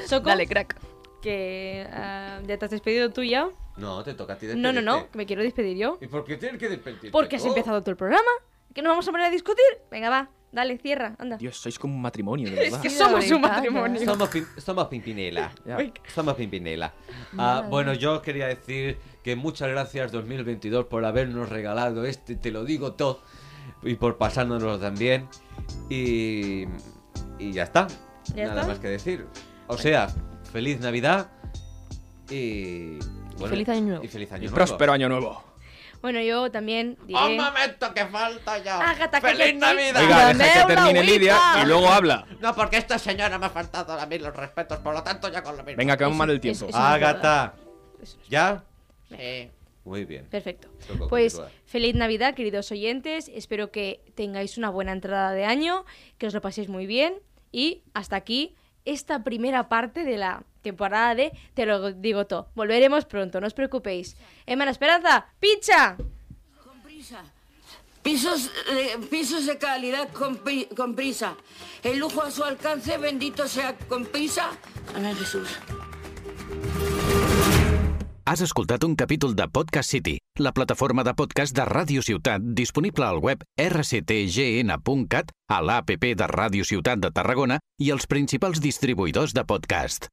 Speaker 2: Soco,
Speaker 3: Dale, crack.
Speaker 2: que ah, ya te has despedido tú ya.
Speaker 1: No, te toca a ti
Speaker 2: No, no, no,
Speaker 1: despedirte.
Speaker 2: que me quiero despedir yo.
Speaker 1: ¿Y por qué tienes que Oh. despedirte?
Speaker 2: Porque has
Speaker 1: tú?
Speaker 2: empezado tú el programa. ¿Que nos vamos a poner a discutir? Venga, va. Dale, cierra, anda.
Speaker 4: Dios, sois como un matrimonio, de verdad.
Speaker 2: que
Speaker 3: Sí,
Speaker 2: somos
Speaker 3: la
Speaker 2: un
Speaker 3: verdad,
Speaker 2: matrimonio.
Speaker 1: Somos, pim- somos Pimpinela.
Speaker 4: Ya.
Speaker 1: Somos Pimpinela. Ah, bueno, yo os quería decir que muchas gracias 2022 por habernos regalado este, te lo digo todo, y por pasárnoslo también. Y, y ya está.
Speaker 2: ¿Ya
Speaker 1: Nada
Speaker 2: está?
Speaker 1: más que decir. O sea, feliz Navidad y...
Speaker 3: feliz año nuevo.
Speaker 1: Y feliz año
Speaker 4: Y
Speaker 1: nuevo.
Speaker 4: próspero año nuevo.
Speaker 2: Bueno, yo también
Speaker 7: Un
Speaker 2: diré.
Speaker 7: momento que falta ya.
Speaker 2: Ágata, que
Speaker 7: ¡Feliz
Speaker 2: te-
Speaker 7: Navidad!
Speaker 4: Oiga,
Speaker 3: Dame
Speaker 4: deja que
Speaker 3: una
Speaker 4: termine Lidia
Speaker 3: agüita.
Speaker 4: y luego habla.
Speaker 7: No, porque esta señora me ha faltado a mí los respetos, por lo tanto ya con lo mismo.
Speaker 4: Venga, que vamos mal del
Speaker 2: Eso-
Speaker 4: tiempo.
Speaker 2: eso-
Speaker 1: Ágata. ¿Ya?
Speaker 7: Sí.
Speaker 1: Muy bien.
Speaker 2: Perfecto.
Speaker 1: Soco,
Speaker 2: Pues
Speaker 1: continúa.
Speaker 2: feliz Navidad, queridos oyentes. Espero que tengáis una buena entrada de año, que os lo paséis muy bien. Y hasta aquí esta primera parte de la temporada de Te lo digo todo. Volveremos pronto, no os preocupéis. Hermana Esperanza, ¡picha!
Speaker 9: Pisos, eh, pisos de calidad con, pri- con prisa. El lujo a su alcance, bendito sea con prisa. Amén Jesús.
Speaker 10: Has escoltat un capítol de Podcast City, la plataforma de podcast de Ràdio Ciutat disponible al web rctgn.cat, a l'APP de Ràdio Ciutat de Tarragona i els principals distribuïdors de podcast.